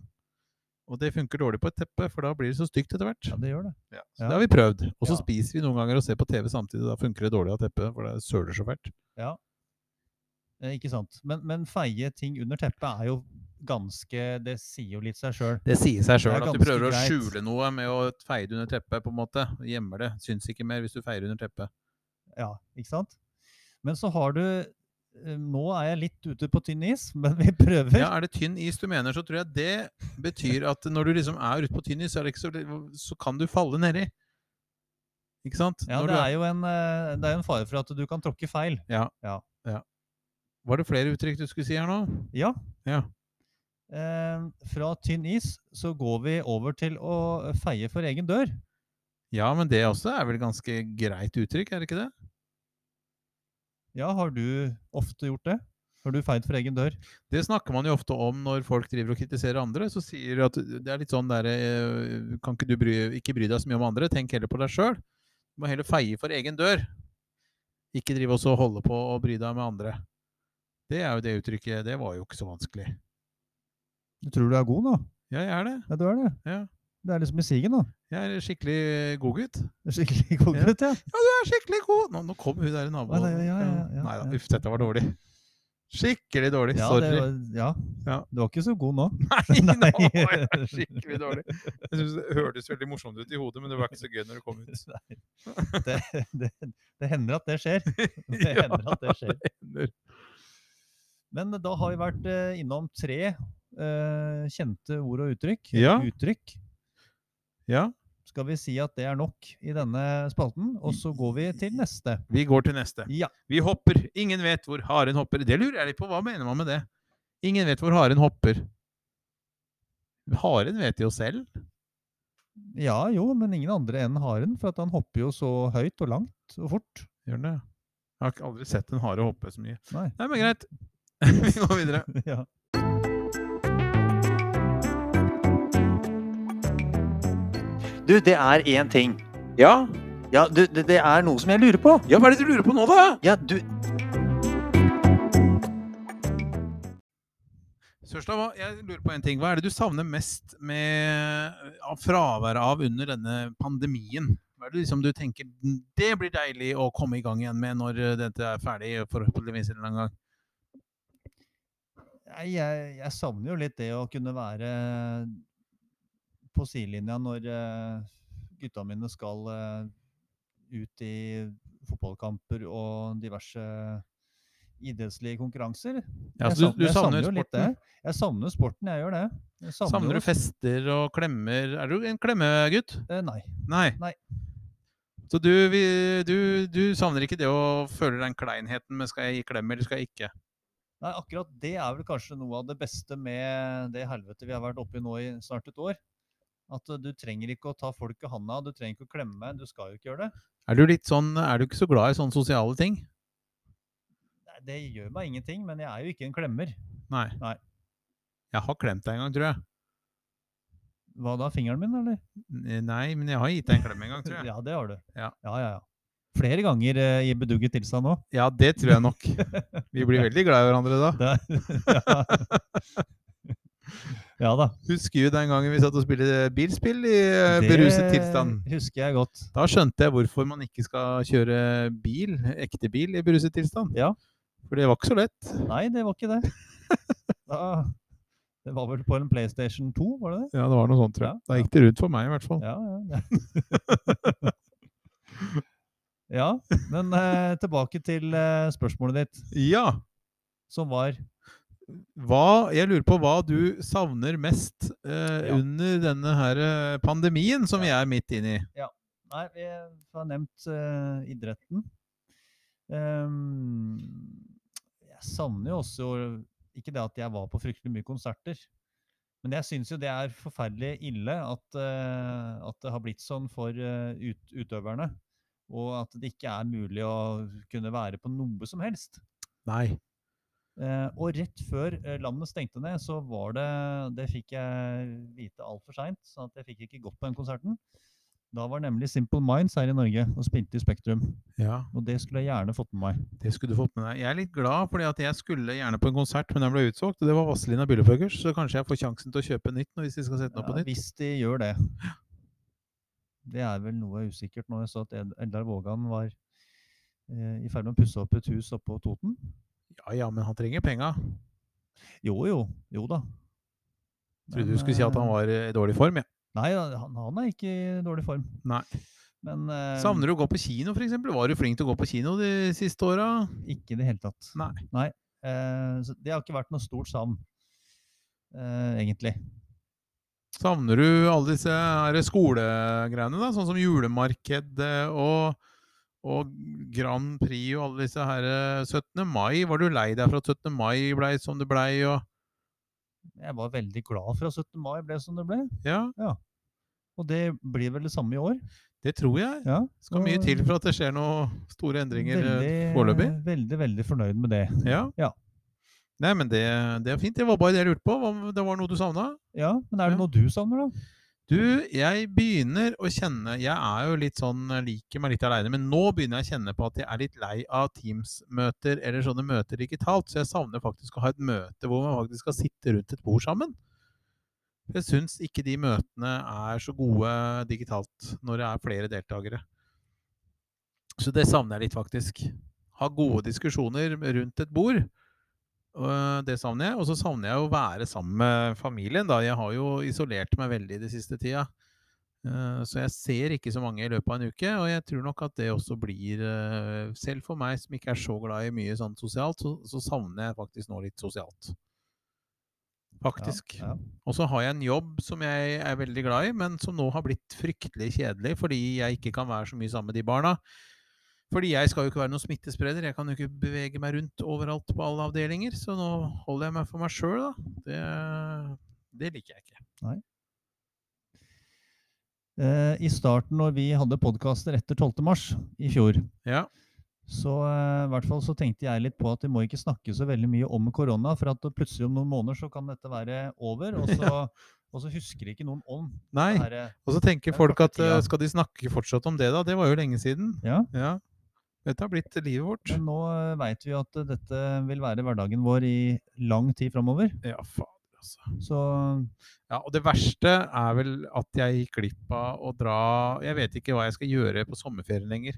Og det funker dårlig på et teppe, for da blir det så stygt etter hvert. ja, det gjør det. Ja, så Ja. det har vi prøvd. Og så Ja. spiser vi noen ganger og ser på TV samtidig. Da funker det dårlig av teppet, for det søler så fælt. Eh, ikke sant. Men, men feie ting under teppet er jo ganske Det sier jo litt seg sjøl. Det sier seg sjøl Det er at du ganske prøver å greit. skjule noe med å feie det under teppet, på en måte. og Gjemmer det. Syns ikke mer hvis du feier under teppet. Ja, ikke sant? Men så har du eh, Nå er jeg litt ute på tynn is, men vi prøver. Ja, Er det tynn is du mener, så tror jeg det betyr at når du liksom er ute på tynn is, så, er det ikke så, så kan du falle nedi. Ikke sant? Ja, Når det du er jo en, eh, det er jo en fare for at du kan tråkke feil. Var det flere uttrykk du skulle si her nå? Ja. Ja. Eh, fra tynn is så går vi over til å feie for egen dør. Ja, men det også er vel ganske greit uttrykk, er det ikke det? Ja, har du ofte gjort det? Har du feid for egen dør? Det snakker man jo ofte om når folk driver og kritiserer andre. Så sier de at det er litt sånn derre eh, Kan ikke du bry, ikke bry deg så mye om andre, tenk heller på deg sjøl. Du må heller feie for egen dør. Ikke drive også og holde på og bry deg med andre. Det er jo det uttrykket. Det var jo ikke så vanskelig. Du tror du er god nå? Ja, jeg er det. Ja, du er det. Ja. Det er liksom i sigen, da. Jeg er skikkelig godgutt. Det er Skikkelig god Ja. gutt, ja. Ja, du er skikkelig god! Nå, nå kom hun der i naboen. Å, nei, ja, ja, ja, Nei da, ja. uff, dette var dårlig. Skikkelig dårlig. Ja, Sorry. det var, ja. Ja. Du var ikke så god nå. Nei, nå Nei. var jeg skikkelig dårlig. Jeg synes det hørtes veldig morsomt ut i hodet, men det var ikke så gøy når det kom ut. Det, det, det hender at det skjer. Det Ja, hender at det skjer. hender. Men da har vi vært eh, innom tre eh, kjente ord og uttrykk. Ja. Uttrykk. Ja, Skal vi si at det er nok i denne spalten, og så går vi til neste. vi går til neste. Ja. Vi hopper. Ingen vet hvor haren hopper. Det lurer jeg litt på. Hva mener man med det? Ingen vet hvor haren hopper. Haren vet jo selv. Ja, jo, men ingen andre enn haren, for at han hopper jo så høyt og langt og fort. Gjør den det? Jeg har ikke- aldri sett en hare hoppe så mye. Nei. Nei, men greit. Vi går videre. Ja. Du, det er én ting. Ja? Ja, du, det, det er noe som jeg lurer på. ja, hva er det du lurer på nå, da? Ja, du Sørstad, hva- jeg lurer på en ting. Hva er det du savner mest med av fraværet av under denne pandemien? Hva er det liksom du tenker "Mm, det blir deilig å komme i gang igjen med når eh, dette er ferdig, forhåpentligvis en eller annen gang? Nei, jeg, jeg savner jo litt det å kunne være på sidelinja når eh, gutta mine skal eh, ut i fotballkamper og diverse idrettslige konkurranser. Ja, Jeg så savner- Altså, du, du jeg savner jo jo litt sporten. det. Jeg savner sporten, jeg gjør det. Jeg savner, Savner jo- du fester og klemmer? Er du en klemmegutt? Eh, Nei. Nei. Nei. Så du, vi, du, du savner ikke det å føle den kleinheten med skal jeg gi klem eller skal jeg ikke? Nei, akkurat det er vel kanskje noe av det beste med det helvetet vi har vært oppi nå i snart et år. At eh, du trenger ikke å ta folk i handa, du trenger ikke å klemme, du skal jo ikke gjøre det. Er du litt sånn, er du ikke så glad i sånne sosiale ting? Nei, Det gjør meg ingenting, men jeg er jo ikke en klemmer. Nei. Nei. Jeg har klemt deg en gang, tror jeg. Hva da, fingeren min, eller? N- Eh, Nei, men jeg har gitt deg en klem en gang, tror jeg. Ja, det har du. Ja. ja, ja. ja. Flere ganger eh, i bedugget tilstand òg. Ja, det tror jeg nok. Vi blir veldig glad i hverandre da. Det er- ja. ja da. Husker jo den gangen vi satt og spilte bilspill i eh, Det beruset tilstand. husker jeg godt. Da skjønte jeg hvorfor man ikke skal kjøre bil, ekte bil, i beruset tilstand. Ja. For det var ikke så lett. Nei, det var ikke det. Da, det var vel på en PlayStation 2, var det det? Ja, det var noe sånt, tror jeg. Da gikk det rundt for meg, i hvert fall. Ja, ja. det- ja men eh, tilbake til eh, spørsmålet ditt, Ja. som var Hva, jeg lurer på hva du savner mest eh, Ja. under denne her eh, pandemien som vi er midt inne i. Nei, vi har nevnt eh, idretten. Ehm, jeg savner jo også Ikke det at jeg var på fryktelig mye konserter, men jeg syns jo det er forferdelig ille at, eh, at det har blitt sånn for eh, ut, utøverne. Og at det ikke er mulig å kunne være på noe som helst. Nei. Eh, og rett før eh, landet stengte ned, så var det Det fikk jeg vite altfor seint, så at jeg fikk ikke gått på den konserten. Da var nemlig Simple Minds her i Norge og spilte i Spektrum. Ja, Og det skulle jeg gjerne fått med meg. det skulle du fått med deg. Jeg er litt glad, fordi at jeg skulle gjerne på en konsert, men den ble utsolgt. Og det var Vazelina Billeføggers, så kanskje jeg får sjansen til å kjøpe nytt nå hvis de skal sette den opp på Ja, nytt. hvis de gjør det. Det er vel noe usikkert når jeg så at Ed- Eldar Vågan var eh, i ferd med å pusse opp et hus oppå Toten. Ja ja, men han trenger penga. Jo jo, jo da. Trodde du skulle si at han var eh, i dårlig form, jeg. Nei, han, han er ikke i dårlig form. Nei. Men eh, Savner du å gå på kino, f.eks.? Var du flink til å gå på kino de siste åra? Ikke i det hele tatt. Nei. Eh, så det har ikke vært noe stort savn, eh, egentlig. Savner du alle disse her skolegreiene, da? Sånn som julemarked eh, og, og Grand Prix og alle disse her eh, 17. mai. Var du lei deg for at 17. mai blei som det blei? Og, Jeg var veldig glad for at 17. mai ble som det ble, ja, og det blir vel det samme i år. det tror jeg. Ja, Skal mye til for at det skjer noen store endringer eh, veldig, foreløpig. Veldig, veldig fornøyd med det. Ja. Ja. Nei, men det, det er fint. Det var bare det jeg lurte på. Hva- Det var noe du savna? Ja, Men er det Ja. noe du savner, da? Du, jeg begynner å kjenne Jeg er jo litt sånn eh, liker meg litt aleine, men nå begynner jeg å kjenne på at jeg er litt lei av Teams-møter eller sånne møter digitalt. Så jeg savner faktisk å ha et møte hvor man faktisk skal sitte rundt et bord sammen. Jeg syns ikke de møtene er så gode digitalt når det er flere deltakere. Så det savner jeg litt, faktisk. Ha gode diskusjoner rundt et bord. Øh, Det savner jeg. Og så savner jeg å være sammen med familien. da. Jeg har jo isolert meg veldig de siste tida. Eh, Så jeg ser ikke så mange i løpet av en uke. Og jeg tror nok at det også blir eh, Selv for meg som ikke er så glad i mye sånn sosialt, så, så savner jeg faktisk nå litt sosialt. Faktisk. Ja, ja. Og så har jeg en jobb som jeg er veldig glad i, men som nå har blitt fryktelig kjedelig fordi jeg ikke kan være så mye sammen med de barna. Fordi jeg skal jo ikke være noen smittespreder, jeg kan jo ikke bevege meg rundt overalt på alle avdelinger, så nå holder jeg meg for meg sjøl, da. Det, det liker jeg ikke. Eh, I starten, når vi hadde podkaster etter 12. mars i fjor, Ja, så, eh, i hvert fall så tenkte jeg litt på at vi må ikke snakke så veldig mye om korona, for at plutselig om noen måneder så kan dette være over, og så, og så husker ikke noen om Nei, det eh, herre og så tenker Det er folk at korte tida. eh, skal de snakke fortsatt om det, da? Det var jo lenge siden. Ja. ja. Dette har blitt livet vårt. Men nå veit vi at eh, dette vil være hverdagen vår i lang tid framover. Ja, fader, altså. Så Ja, og det verste er vel at jeg gikk glipp av å dra Jeg vet ikke hva jeg skal gjøre på sommerferien lenger.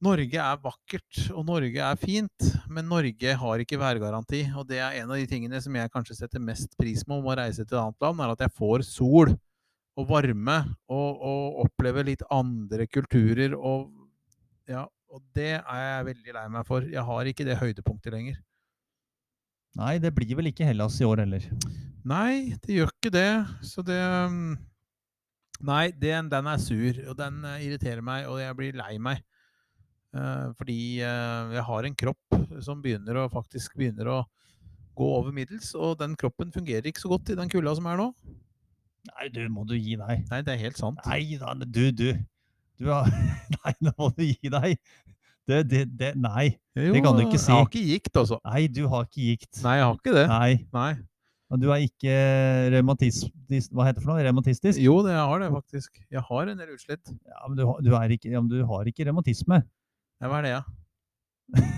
Norge er vakkert, og Norge er fint, men Norge har ikke værgaranti. Og det er en av de tingene som jeg kanskje setter mest pris på om å reise til et annet land, er at jeg får sol og varme og, og opplever litt andre kulturer og ja, Og det er jeg veldig lei meg for. Jeg har ikke det høydepunktet lenger. Nei, det blir vel ikke Hellas i år heller. Nei, det gjør ikke det. Så det mm, Nei, den, den er sur, og den eh, irriterer meg, og jeg blir lei meg. Eh, fordi eh, jeg har en kropp som begynner å faktisk begynner å gå over middels, og den kroppen fungerer ikke så godt i den kulda som er nå. Nei, du, må du gi deg. Nei, det er helt sant. Nei da, du, du. du har... Nei, nå må du gi deg. Det, det, det, nei. Jo, det kan du ikke si. Jeg har ikke gikt, altså. nei, du har ikke gikt. Nei, jeg har ikke det. Nei. Nei. Og du er ikke reumatis... dis- Hva heter det for noe? Reumatistisk? Jo, det jeg har det faktisk. Jeg har en del utslett. Ja, men du, har- du, er ikke, ja, men du har ikke reumatisme. Ja, hva er det, ja?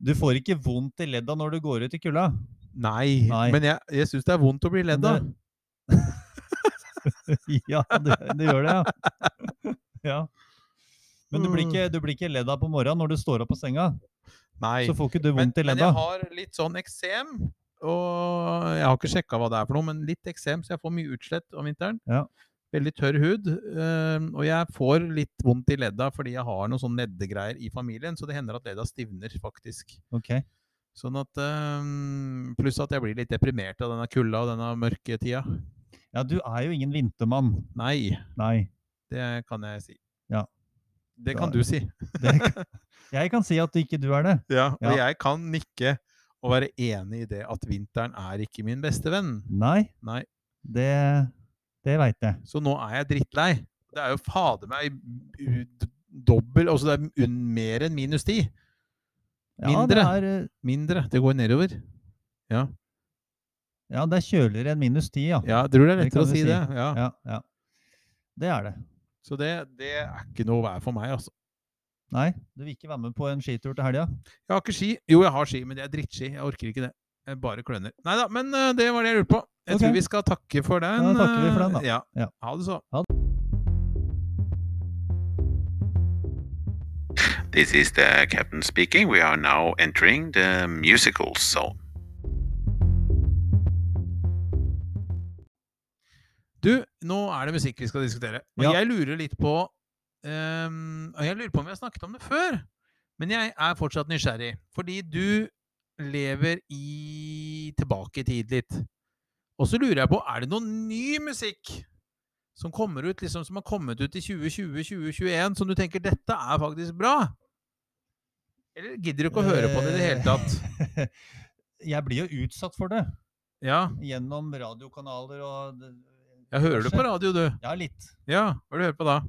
Du får ikke vondt i ledda når du går ut i kulda. Nei. Nei. Men jeg, jeg syns det er vondt å bli ledd av. Det- ja, det, det gjør det, ja. ja. Men du blir, ikke, du blir ikke ledd av på morgenen når du står opp på senga. Nei. Så får ikke du Men, vondt i men ledda. jeg har litt sånn eksem. Og jeg har ikke sjekka hva det er for noe, men litt eksem, så jeg får mye utslett om vinteren. Ja. Veldig tørr hud. øhm, og jeg får litt vondt i ledda fordi jeg har noen sånne leddegreier i familien, så det hender at ledda stivner, faktisk. Ok. Sånn at øhm, Pluss at jeg blir litt deprimert av denne kulda og denne mørke tida. Ja, du er jo ingen vintermann. Nei, Nei. det kan jeg si. Ja. Det Da- kan du si. Det, jeg kan si at ikke du er det. Ja, og Ja. jeg kan nikke og være enig i det at vinteren er ikke min beste venn. Nei, Nei. det, det veit jeg. Så nå er jeg drittlei. Det er jo fader meg u- d- dobbel Altså det er un, mer enn minus ti. Ja, Det Mindre. er, eh, Mindre. Det går nedover. ja, det er kjøligere enn minus ti, ja. Ja, jeg tror det er Det lettere kan å du si si. det. Ja. Ja, ja. Det er det. Så det, det er ikke noe vær for meg, altså. Nei, du vil ikke være med på en skitur til helga? Jeg har ikke ski. Jo, jeg har ski, men det er drittski. Jeg orker ikke det. Jeg bare kløner. Nei da, men eh, det var det jeg lurte på. Jeg Ok. tror vi skal takke for den. da takker vi for den, da. eh, Ja. Ja. Ha det så. This is the captain speaking. We are now entering the musical zone. Du, nå er det musikk vi skal diskutere. Og Ja. jeg lurer litt på ehm, og Jeg lurer på om vi har snakket om det før, men jeg er fortsatt nysgjerrig. Fordi du lever i tilbake i tid litt. Og så lurer jeg på, er det noen ny musikk som kommer ut, liksom som har kommet ut i 2020-2021, som du tenker dette er faktisk bra? Eller gidder du ikke å høre på det i det hele tatt? Eh. Jeg blir jo utsatt for det Ja, gjennom radiokanaler og det- jeg hører det på diverse. radio, du. Ja, litt. Ja, hva er det du hører på da?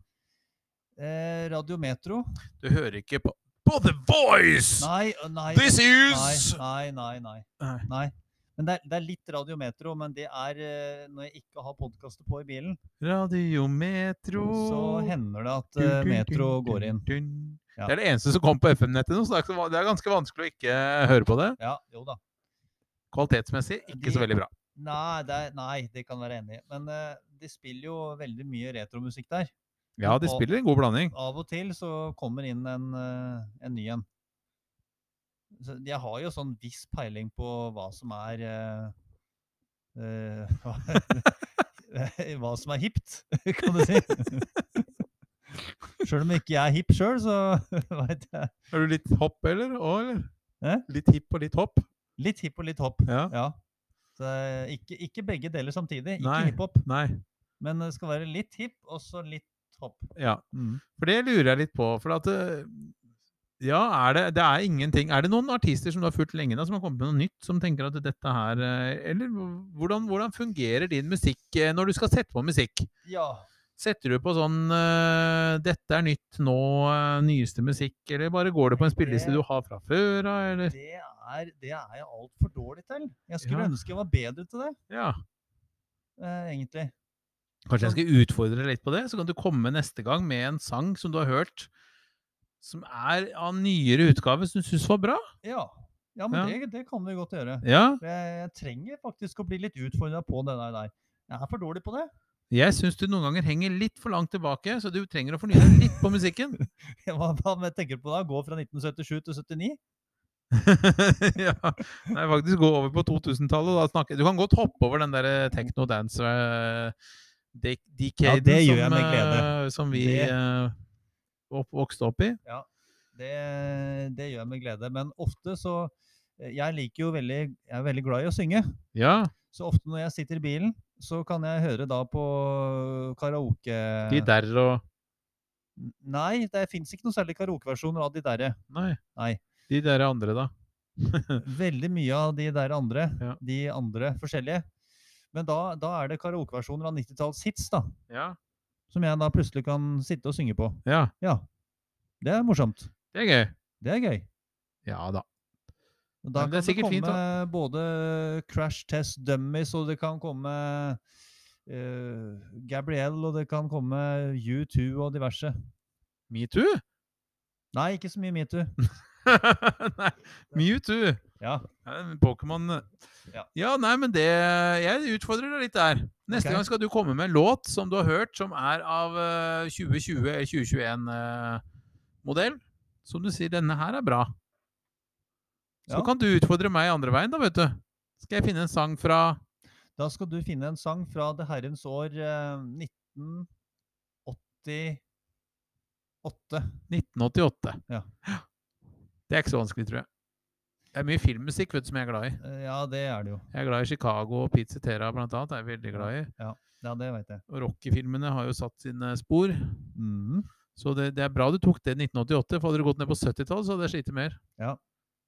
Eh, Radio Metro? Du hører ikke på På The Voice! Nei, øh, nei. This Nei, is nei, nei. nei. Nei. nei. Men det er, det er litt radiometro, men det er eh, når jeg ikke har podkastet på i bilen, Radiometro så hender det at Dun, eh, dun, metro dun, går dun, inn. dun. Ja. Det er det eneste som kom på FM-nettet nå, så det er ikke så va- det er ganske vanskelig å ikke eh, høre på det. Ja, jo da. Kvalitetsmessig ikke De- så veldig bra. Nei, det, er, nei, det kan jeg være enig i. Men eh, de spiller jo veldig mye retromusikk der. Ja, de og- spiller en god blanding. Av og til så kommer inn en, eh, en ny en. Så jeg har jo sånn viss peiling på hva som er eh, eh, hva- Hva som er hipt, kan du si. Sjøl om ikke jeg er hipp sjøl, så veit jeg. Er du litt hopp, eller? Å, eller? Hæ? Litt hipp og litt hopp? Litt hipp og litt hopp. Ja. Ja. Så eh, ikke, ikke begge deler samtidig. Ikke Nei. hiphop, Nei. men det skal være litt hipp og så litt hopp. Ja. For det lurer jeg litt på. For at eh, Ja, er det, det er ingenting Er det noen artister som du har fulgt lenge, da, som har kommet med noe nytt, som tenker at dette her eh, Eller hvordan, hvordan fungerer din musikk eh, når du skal sette på musikk? Ja. Setter du på sånn eh, 'dette er nytt nå, eh, nyeste musikk', eller bare går det på en spilleliste Det- du har fra før av, eller Det er, det er jeg altfor dårlig til. Jeg skulle Ja. ønske jeg var bedre til det, Ja. eh, egentlig. Kanskje jeg skal utfordre deg litt på det, så kan du komme neste gang med en sang som du har hørt, som er av nyere utgave, som du syns var bra. Ja, ja men Ja. Det, det kan vi godt gjøre. Ja. For Jeg, jeg trenger faktisk å bli litt utfordra på det der. der. Jeg er for dårlig på det. Jeg syns du noen ganger henger litt for langt tilbake, så du trenger å fornye deg litt på musikken. Hva, hva med- tenker du på da? Gå fra 1977 til 79? ja. Nei, faktisk gå over på 2000-tallet. da snakker- Du kan godt hoppe over den der eh, techno dance eh, de- Ja, decaden det gjør jeg som, med glede. eh, som vi Det- eh, opp, vokste opp i. Det, det gjør jeg med glede. Men ofte så eh, Jeg liker jo veldig Jeg er veldig glad i å synge. Ja, Så ofte når jeg sitter i bilen, så kan jeg høre da på karaoke de der og Nei, det fins ikke noe særlig karaokeversjoner av de derre. Nei. Nei. De der andre, da. Veldig mye av de der andre. Ja. De andre forskjellige. Men da, da er det karaokeversjoner av 90-tallshits, da. Ja. Som jeg da plutselig kan sitte og synge på. ja. Ja. Det er morsomt. Det er gøy. Det er gøy. Ja da. Og Da Men det er kan det sikkert komme fint, både Crash Test Dummies, og det kan komme eh, Gabrielle, og det kan komme U2 og diverse. Metoo? Nei, ikke så mye metoo. nei, Mewtwo. Ja. Ja, men Pokémon eh, Ja. Ja, nei, men det Jeg utfordrer deg litt der. Neste Ok. gang skal du komme med en låt som du har hørt, som er av eh, 2020 eller 2021-modell. eh, som du sier 'denne her er bra'. Så Ja. kan du utfordre meg andre veien, da, vet du. Skal jeg finne en sang fra Da skal du finne en sang fra det herrens år eh, 1988. 1988? Ja. Det er ikke så vanskelig, tror jeg. Det er mye filmmusikk vet du, som jeg er glad i. Eh, Ja, det er det jo. Jeg er glad i Chicago og Pizza Terra blant annet. er jeg veldig glad i. Ja, det veit jeg. Og Rocky-filmene har jo satt sine spor. Mm. Mhm. Så det, det er bra du tok det i 1988, for hadde du gått ned på 70-tallet, så hadde jeg slitt mer.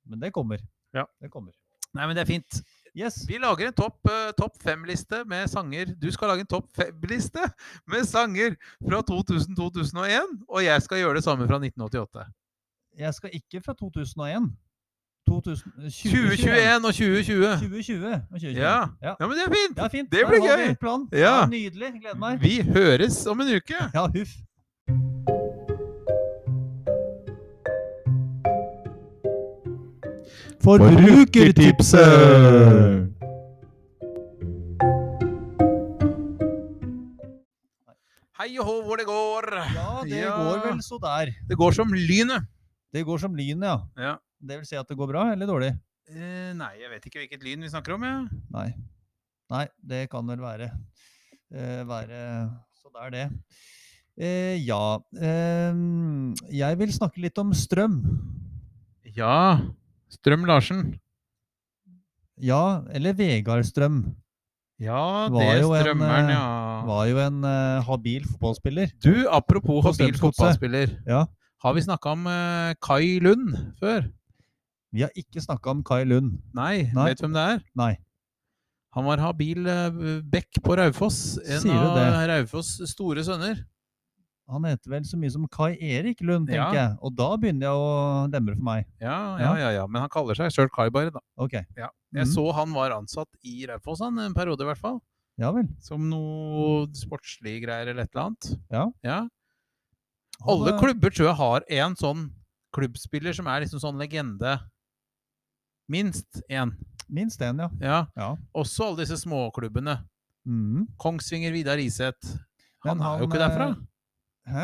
Men det kommer. Ja. Det kommer. Nei, men det er fint. Yes. Vi lager en topp eh, topp fem-liste med sanger. Du skal lage en topp fem-liste med sanger fra 2000-2001, og jeg skal gjøre det samme fra 1988. Jeg skal ikke fra 2001. 2000, 2021. 2021 og 2020! 2020 og Ja. 2021. Ja. ja, men det er fint! Ja, fint. Det Der blir har vi gøy. en Plan. Ja. Ja. Nydelig. Gleder meg. Vi høres om en uke! Ja, huff. Forbrukertipset! Hei og hå hvor det går! Ja, det Ja. går vel så der. Det går som lynet. Det går som lynet, ja. Ja. Det vil si at det går bra eller dårlig? Eh, nei, jeg vet ikke hvilket lyn vi snakker om. jeg. Nei. Nei, det kan vel være eh, Være Så det er det. Eh, ja. ehm, jeg vil snakke litt om strøm. Ja. Strøm Larsen. Ja, eller Vegard Strøm. Ja, Var det jo en, strømmeren, eh, ja. Var jo en eh, habil fotballspiller. Du, apropos På habil Strømsgodset. fotballspiller. Ja. Har vi snakka om eh, Kai Lund før? Vi har ikke snakka om Kai Lund. Nei, Nei. Vet du hvem det er? Nei. Han var habil eh, bekk på Raufoss. En Sier du av det? Raufoss' store sønner. Han heter vel så mye som Kai Erik Lund, Ja. tenker jeg. Og da begynner jeg å demre for meg. Ja, ja, Ja. ja. ja. Men han kaller seg sjøl Kai, bare. da. Ok. Ja. Jeg Mhm. så han var ansatt i Raufoss han, en periode, i hvert fall. Ja vel. Som noe sportslige greier eller et eller annet. Ja. Han, Alle eh, klubber tror jeg har en sånn klubbspiller som er liksom sånn legende. Minst én. Minst én, ja. Ja. Ja. Også alle disse småklubbene. Mhm. Kongsvinger, Vidar Iseth. Han, Men er jo han, ikke derfra. eh, Hæ?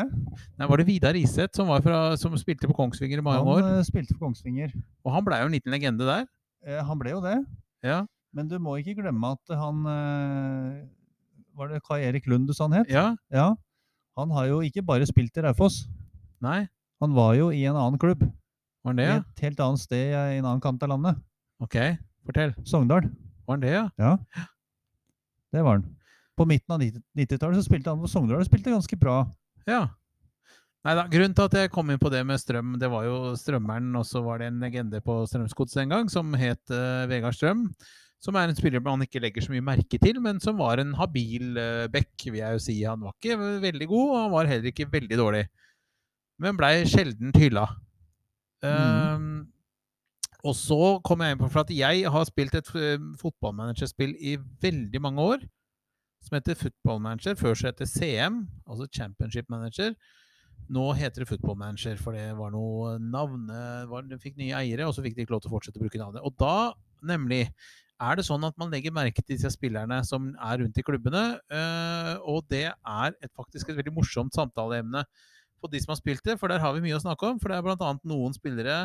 Nei, var det Vidar Iseth som, var fra, som spilte på Kongsvinger i mange Han år? eh, spilte for Kongsvinger. Og han blei jo en liten legende der. Eh, han ble jo det. Ja. Men du må ikke glemme at han eh, Var det Kai Erik Lund du sa han het? Ja, Ja. Han har jo ikke bare spilt i Raufoss. nei, Han var jo i en annen klubb. var han det? I ja? et helt annet sted eh, i en annen kant av landet. Ok, fortell. Sogndal. Var han det, ja? Det var han. På midten av 90- 90-tallet så spilte han for Sogndal og spilte ganske bra. Ja. Nei da, grunnen til at jeg kom inn på det med strøm, det var jo strømmeren, og så var det en legende på Strømsgodset en gang som het eh, Vegard Strøm. Som er en spiller man ikke legger så mye merke til, men som var en habil uh, back, vil jeg jo si. Han var ikke veldig god, og han var heller ikke veldig dårlig. Men blei sjelden hylla. Mhm. Eh, og så kom jeg inn på for at jeg har spilt et eh, fotballmanagerspill i veldig mange år som heter Football Manager. Før så het det CM, altså Championship Manager. Nå heter det Football Manager, for det var noe navne... Var, de fikk nye eiere, og så fikk de ikke lov til å fortsette å bruke navnet. Og da, nemlig, er det sånn at man legger merke til disse spillerne som er rundt i klubbene. eh, og det er et, faktisk et veldig morsomt samtaleemne for de som har spilt det, for der har vi mye å snakke om. For det er bl.a. noen spillere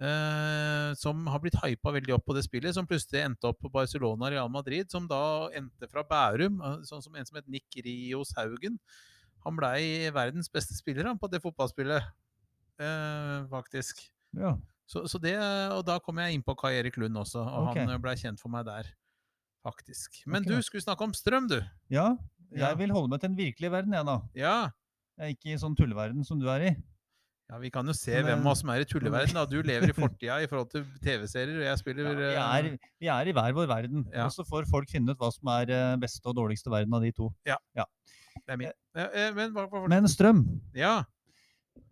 eh, som har blitt hypa veldig opp på det spillet, som plutselig endte opp på Barcelona og Real Madrid, som da endte fra Bærum, eh, sånn som en som het Nick Rios Haugen. Han blei verdens beste spiller han, på det fotballspillet, eh, faktisk. Ja. Så, så det, og da kom jeg inn på Kai Erik Lund også, og Ok. han blei kjent for meg der, faktisk. Men Ok, du da. skulle snakke om strøm, du. ja. Ja. Jeg vil holde meg til den virkelige verden, jeg, da. Ja. Jeg er ikke i sånn tulleverden som du er i. Ja, Vi kan jo se Men, hvem eh, av oss som er i tulleverden. Da. Du lever i fortida i forhold til TV-serier, og jeg spiller Ja, vi, eh, er, vi er i hver vår verden. Ja. Og så får folk finne ut hva som er eh, beste og dårligste verden av de to. Det er min. Ja, eh, men hva hva- Men strøm. Ja,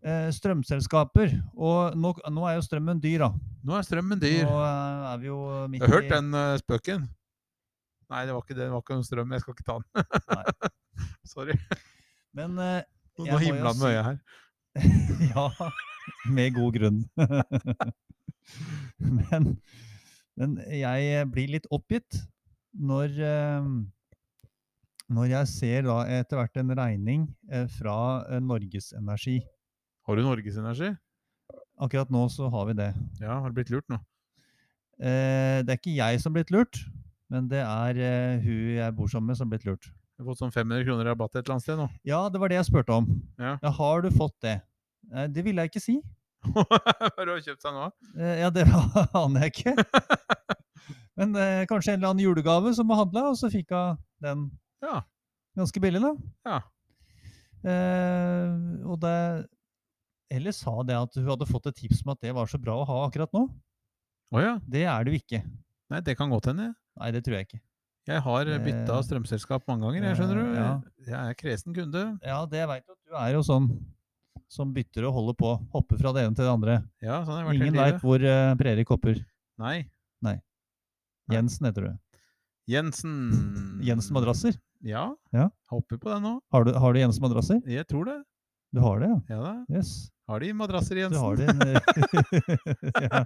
eh, Strømselskaper. Og nå, nå er jo strømmen dyr, da. nå er strømmen Nå dyr. eh, er vi jo midt Jeg har hørt den eh, spøken. Nei, det var ikke det. Det var ikke om strøm. Jeg skal ikke ta den. Sorry. Men eh, Nå Jeg må jo himla den med si- øyet her. ja, med god grunn. men, men jeg blir litt oppgitt når eh, når jeg ser da etter hvert en regning eh, fra eh, Norges Energi. Har du Norgesenergi? Akkurat nå så har vi det. Ja, har du blitt lurt nå? Eh, det er ikke jeg som har blitt lurt, men det er eh, hun jeg bor sammen med som har blitt lurt. Du har fått sånn 500 kroner rabatt et eller annet sted nå. Ja, det var det jeg spurte om. Ja. har du fått det? Eh, det ville jeg ikke si. Hva har du kjøpt seg nå? Eh, ja, det aner jeg ikke. Men eh, kanskje en eller annen julegave som var handla, og så fikk hun den Ja. ganske billig, da. Ja. Eh, og det Eller sa det at hun hadde fått et tips om at det var så bra å ha akkurat nå. Å ja. Det er det jo ikke. Nei, det kan godt hende. Nei, det tror jeg ikke. Jeg har bytta Eh, strømselskap mange ganger, jeg skjønner du. ja. Jeg er kresen kunde. Ja, det veit du. at Du er jo sånn som bytter og holder på. Hopper fra det ene til det andre. Ja, sånn har jeg vært Ingen hele veit livet. hvor eh, Brerik hopper. Nei. Nei. Jensen heter du. Jensen. Jensen Madrasser. Ja. Ja. Hopper på den nå. Har du, har du Jensen Madrasser? Jeg tror det. Du har det, ja. Ja da. Jøss. Har de madrasser, Du Jensen? har det. ja.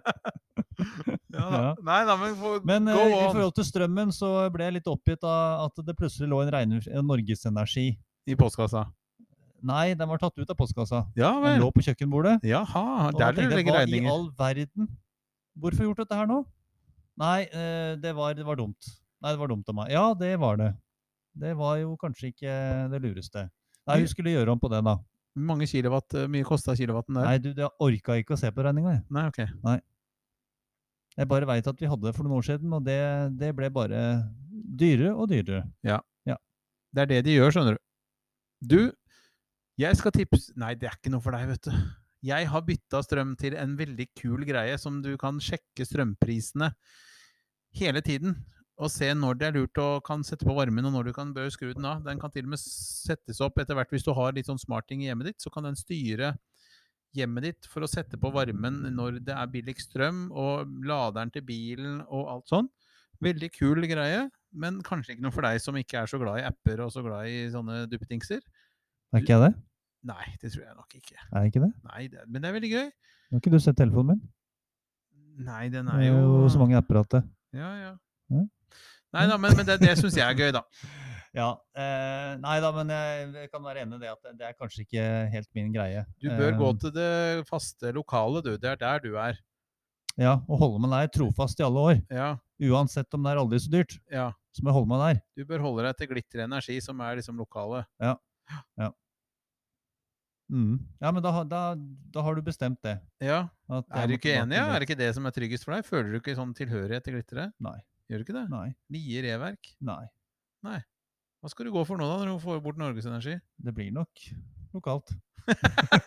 Ja da. Ja. Nei da, men, få- Men eh, go i on. forhold til strømmen så ble jeg litt oppgitt av at det plutselig lå en, regn, en Norgesenergi I postkassa. Nei, den var tatt ut av postkassa. Ja Den vel. lå på kjøkkenbordet. Jaha. Og da Der tenkte du jeg, legger hva i regninger. all verden? Hvorfor gjort dette her nå? Nei, eh, det var, det var dumt. Nei, det var dumt av meg. Ja, det var det. Det var jo kanskje ikke det lureste. Nei, Vi- vi skulle gjøre om på det, da. Hvor mange kilowatt, eh, mye kosta kilowatten der? Nei, du, jeg orka ikke å se på regninga, jeg. Nei, ok. Jeg bare veit at vi hadde det for noen år siden, og det, det ble bare dyrere og dyrere. Det er det de gjør, skjønner du. Du, jeg skal tipse Nei, det er ikke noe for deg, vet du. Jeg har bytta strøm til en veldig kul greie som du kan sjekke strømprisene hele tiden. Og se når det er lurt å kan sette på varmen, og når du kan bør skru den av. Den kan til og med settes opp etter hvert hvis du har litt sånn smarting i hjemmet ditt, så kan den styre hjemmet ditt for å sette på varmen når det er billigst strøm, og laderen til bilen og alt sånn. Veldig kul greie, men kanskje ikke noe for deg som ikke er så glad i apper og så glad i sånne duppedingser. Er ikke jeg det? Nei, det tror jeg nok ikke. Er jeg ikke det? Nei, det, Men det er veldig gøy. Har ikke du sett telefonen min? Nei, den Det er er jo jo så mange apper at det Ja, ja. Ja. Nei da, men, men det, det syns jeg er gøy, da. Ja. Eh, nei da, men jeg, jeg kan være enig i det at det- det er kanskje ikke helt min greie. Du bør gå Eh, til det faste lokalet, du. Det er der du er. Eh, Ja, og holde meg der trofast i alle år. Ja, Uansett om det er aldri så dyrt, ja. så må jeg holde meg der. Du bør holde deg til Glitter Energi, som er liksom lokalet. Mm. Ja, men da, har- da, da har du bestemt det. Ja. at Er du jeg må ikke tilbake enig? ja? dit. Er det ikke det som er tryggest for deg? Føler du ikke sånn tilhørighet til glitteret? Nei. Gjør du ikke det? Nei. Lie reverk? Nei. Hva skal du gå for nå, da, når du får bort Norges Energi? Det blir nok lokalt.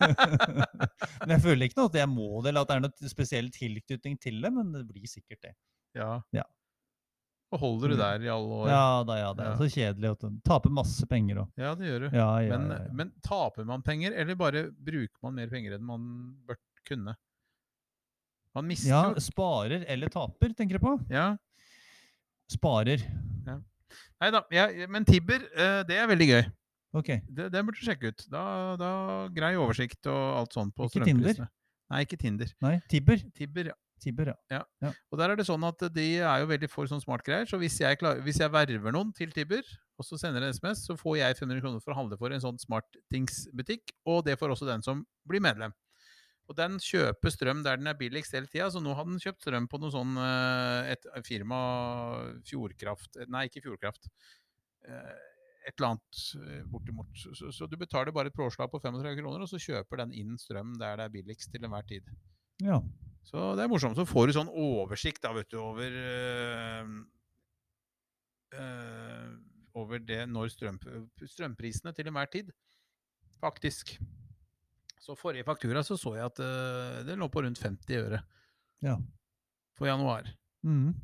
men jeg føler ikke noe at jeg må det, eller at det er noe spesiell tilknytning til det, men det blir sikkert det. Ja. Ja. Og holder du Mm. der i alle år? Ja da, ja, det er Ja. så kjedelig. At du taper masse penger og Ja, det gjør du. ja, ja, men, eh, ja, ja. men taper man penger, eller bare bruker man mer penger enn man bør kunne? Man mister ja, jo sparer eller taper, tenker du på? Ja. Sparer. Nei da. Jeg- men Tibber, eh, det er veldig gøy. Ok. Det, det burde du sjekke ut. Da, da Grei oversikt og alt sånt på Ikke Tinder? strømprisene. Nei, ikke Tinder. Nei, Tibber. Tibber, ja. Tibber, ja. Og der er det sånn at de er jo veldig for sånn smartgreier. Så hvis jeg, klar, hvis jeg verver noen til Tibber, og så sender en SMS, så får jeg 500 kroner for å handle for en sånn smarttingsbutikk. Og det får også den som blir medlem. Og den kjøper strøm der den er billigst hele tida, så nå hadde den kjøpt strøm på noe sånn eh, et firma Fjordkraft Nei, ikke Fjordkraft. Eh, Et eller annet eh, bortimot. Så, så du betaler bare et påslag på 35 kroner, og så kjøper den inn strøm der det er billigst til enhver tid. Ja. Så det er morsomt. Så får du sånn oversikt da, vet du, over eh, eh, Over det når strøm, strømprisene til enhver tid, faktisk. Så forrige faktura så, så jeg at eh, det lå på rundt 50 øre Ja. for januar. Mm.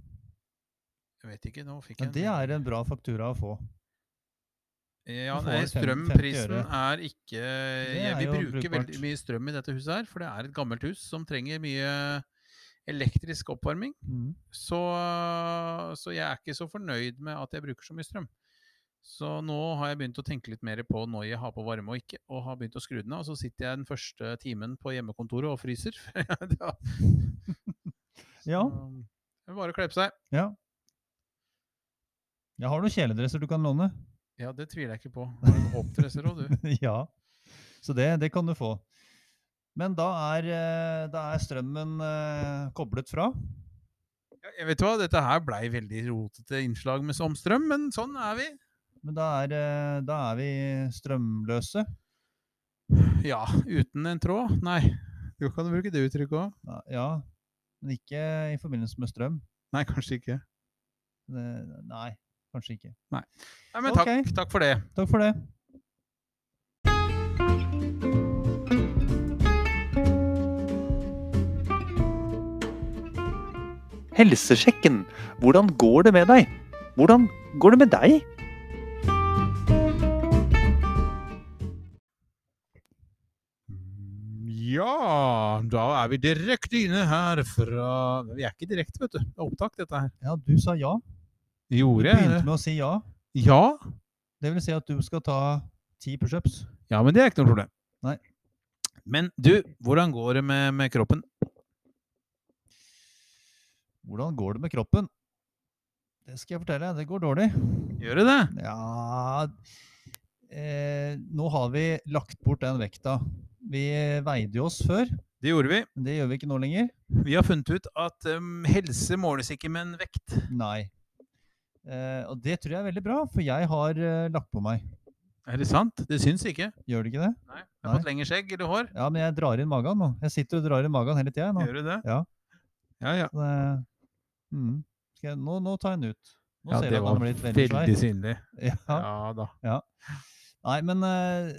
Jeg vet ikke, nå fikk ja. jeg en- Det er en bra faktura å få. Ja, Du får nei, vel fem- 50 strømprisen øre. er ikke er jeg, Vi jo bruker brukbart. veldig mye strøm i dette huset her, for det er et gammelt hus som trenger mye elektrisk oppvarming. Mm. Så, så jeg er ikke så fornøyd med at jeg bruker så mye strøm. Så nå har jeg begynt å tenke litt mer på når jeg har på varme og ikke, og har begynt å skru den av. Og så sitter jeg den første timen på hjemmekontoret og fryser. ja. Ja. Så, det er Bare å kle på seg. Jeg har noen kjeledresser du kan låne. Ja, det tviler jeg ikke på. Har du Hoppdresser òg, du. ja. Så det, det kan du få. Men da er, eh, da er strømmen eh, koblet fra. Ja, jeg vet hva, dette her blei veldig rotete innslag med som strøm, men sånn er vi. Men da er, eh, da er vi strømløse. Ja, uten en tråd. Nei. Du kan bruke det uttrykket òg. Ja, Ja, men ikke i forbindelse med strøm. Nei, kanskje ikke. Det- Nei, kanskje ikke. Nei, men takk, Ok. takk for det. Takk for det. Helsesjekken. Hvordan går det med deg? Hvordan går det med deg? Ja, da er vi direkte inne her fra Vi er ikke direkte, vet du. Det er opptak, dette her. Ja, du sa ja. Du Gjorde jeg begynte det? med å si ja. Ja. Det vil si at du skal ta ti pushups. Ja, men det er ikke noe problem. Nei. Men du, hvordan går det med, med kroppen? Hvordan går det med kroppen? Det skal jeg fortelle. Det går dårlig. Gjør det det? Ja eh, Nå har vi lagt bort den vekta. Vi veide jo oss før, Det gjorde vi. men det gjør vi ikke nå lenger. Vi har funnet ut at um, helse måles ikke med en vekt. Nei. Eh, og det tror jeg er veldig bra, for jeg har eh, lagt på meg. Er det sant? Det syns ikke. Gjør det ikke det? Nei. Jeg Nei. har fått lengre skjegg eller hår. Ja, men jeg drar inn magen nå. Jeg sitter og drar inn magen hele tida. Nå. Gjør du det? Ja. Ja, ja. Det, mm. skal jeg, nå, nå tar jeg den ut. Nå ja ser det jeg at var den har veldig, blitt veldig svær. synlig. Ja. Ja da. Nei, men eh,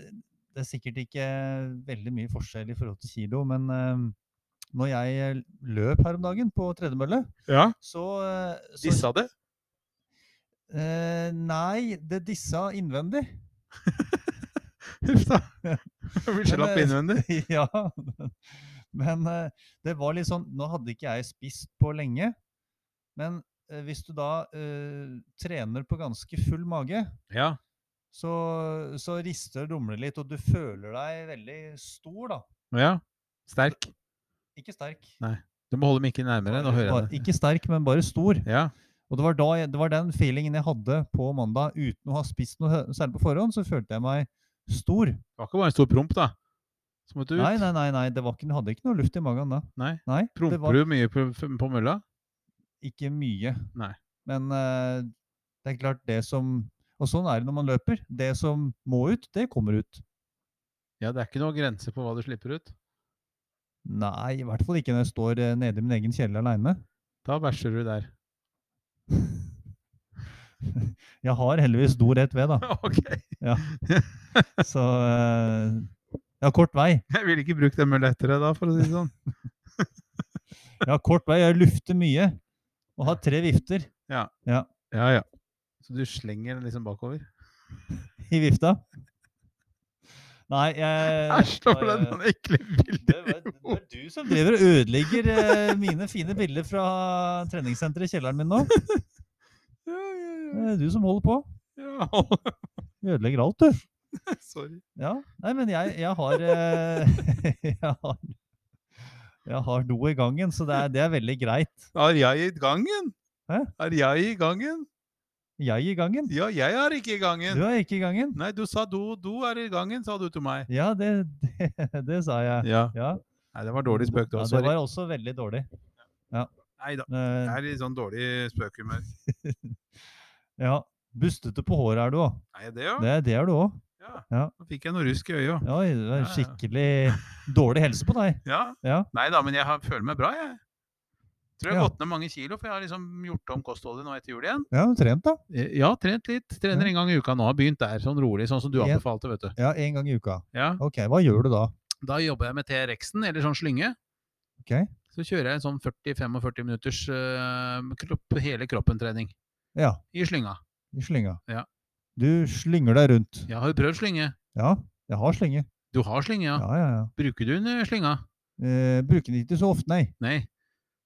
det er sikkert ikke veldig mye forskjell i forhold til kilo, men eh, når jeg løp her om dagen på tredemølle, Ja. så, eh, så Dissa det? eh, Nei, det dissa innvendig. Huff da. Blir slapp Men, eh, innvendig. ja. Men eh, det var litt sånn Nå hadde ikke jeg spist på lenge, men eh, hvis du da eh, trener på ganske full mage, Ja. så, så rister og rumler litt, og du føler deg veldig stor, da. Ja. Sterk. Ikke sterk. Du må holde mikken nærmere. Nå hører Bare, jeg det. ikke sterk, men bare stor. Ja. Og det var, da jeg, det var den feelingen jeg hadde på mandag uten å ha spist noe hø- særlig på forhånd, så følte jeg meg stor. Det var ikke bare en stor promp, da. Så måtte du ut. Nei, nei, nei, nei det var ikke, hadde ikke noe luft i magen da. Nei. nei det Promper var du mye på, på mølla? ikke mye. Nei. Men eh, det er klart, det som Og sånn er det når man løper. Det som må ut, det kommer ut. Ja, det er ikke noe grense på hva du slipper ut. Nei, i hvert fall ikke når jeg står eh, nede i min egen kjeller aleine. Da bæsjer du der. Jeg har heldigvis do rett ved, da. ok. Så eh, jeg har kort vei. Jeg ville ikke brukt den mølla etter deg da, for å si det sånn. Jeg har kort vei, jeg lufter mye. Og har tre vifter Ja, ja. Så du slenger den liksom bakover? i vifta. Nei, jeg eh, Æsj, da ble jeg- det noen ekle Det bilder. var, det var du som driver og ødelegger eh, mine fine bilder fra treningssenteret i kjelleren min nå. Ja, ja, ja. Det er du som holder på. ja. Du ødelegger alt, du. Sorry. Ja. Nei, men jeg, jeg har eh, Jeg har, jeg har do i gangen, så det er, det er veldig greit. Er jeg i gangen? Hæ? Er jeg i gangen? Jeg i gangen. Ja, jeg er ikke i Du gangen. er ikke i gangen. Nei, du sa do, do er i gangen, sa du til meg. Ja, det, det, det sa jeg. Ja. Ja. Nei, det var dårlig spøk da. Ja, det Sorry. var også veldig dårlig. Nei da. Eh, Jeg er i sånn dårlig spøkhumør. ja. Bustete på håret er du òg. Er jeg det, jo? Det, er- det er du òg. Ja. Ja. Nå fikk jeg noe rusk i øyet òg. Oi, det Ja, var ja. skikkelig dårlig helse på deg. Ja. Ja. Nei da, men jeg har, føler meg bra, jeg. Tror jeg har Ja. gått ned mange kilo, for jeg har liksom gjort om kostholdet nå etter jul igjen. Ja, du trent, da. Eh, Ja, trent litt. Trener en gang i uka nå. Har begynt der, sånn rolig, sånn som du Ja. anbefalte, vet du. Ja, én gang i uka. Ja. Ok, hva gjør du da? Da jobber jeg med TRX-en, eller sånn slynge. Ok. Så kjører jeg en sånn 40-45 minutters eh, kropp, hele kroppen-trening Ja, i slynga. i slynga. Ja. Du slynger deg rundt. Jeg har jo prøvd slynge. Ja, jeg har slynge. Du har slynge, ja. Ja, ja, ja. Bruker du en eh, slynga? Eh, bruker den ikke så ofte, nei. Nei.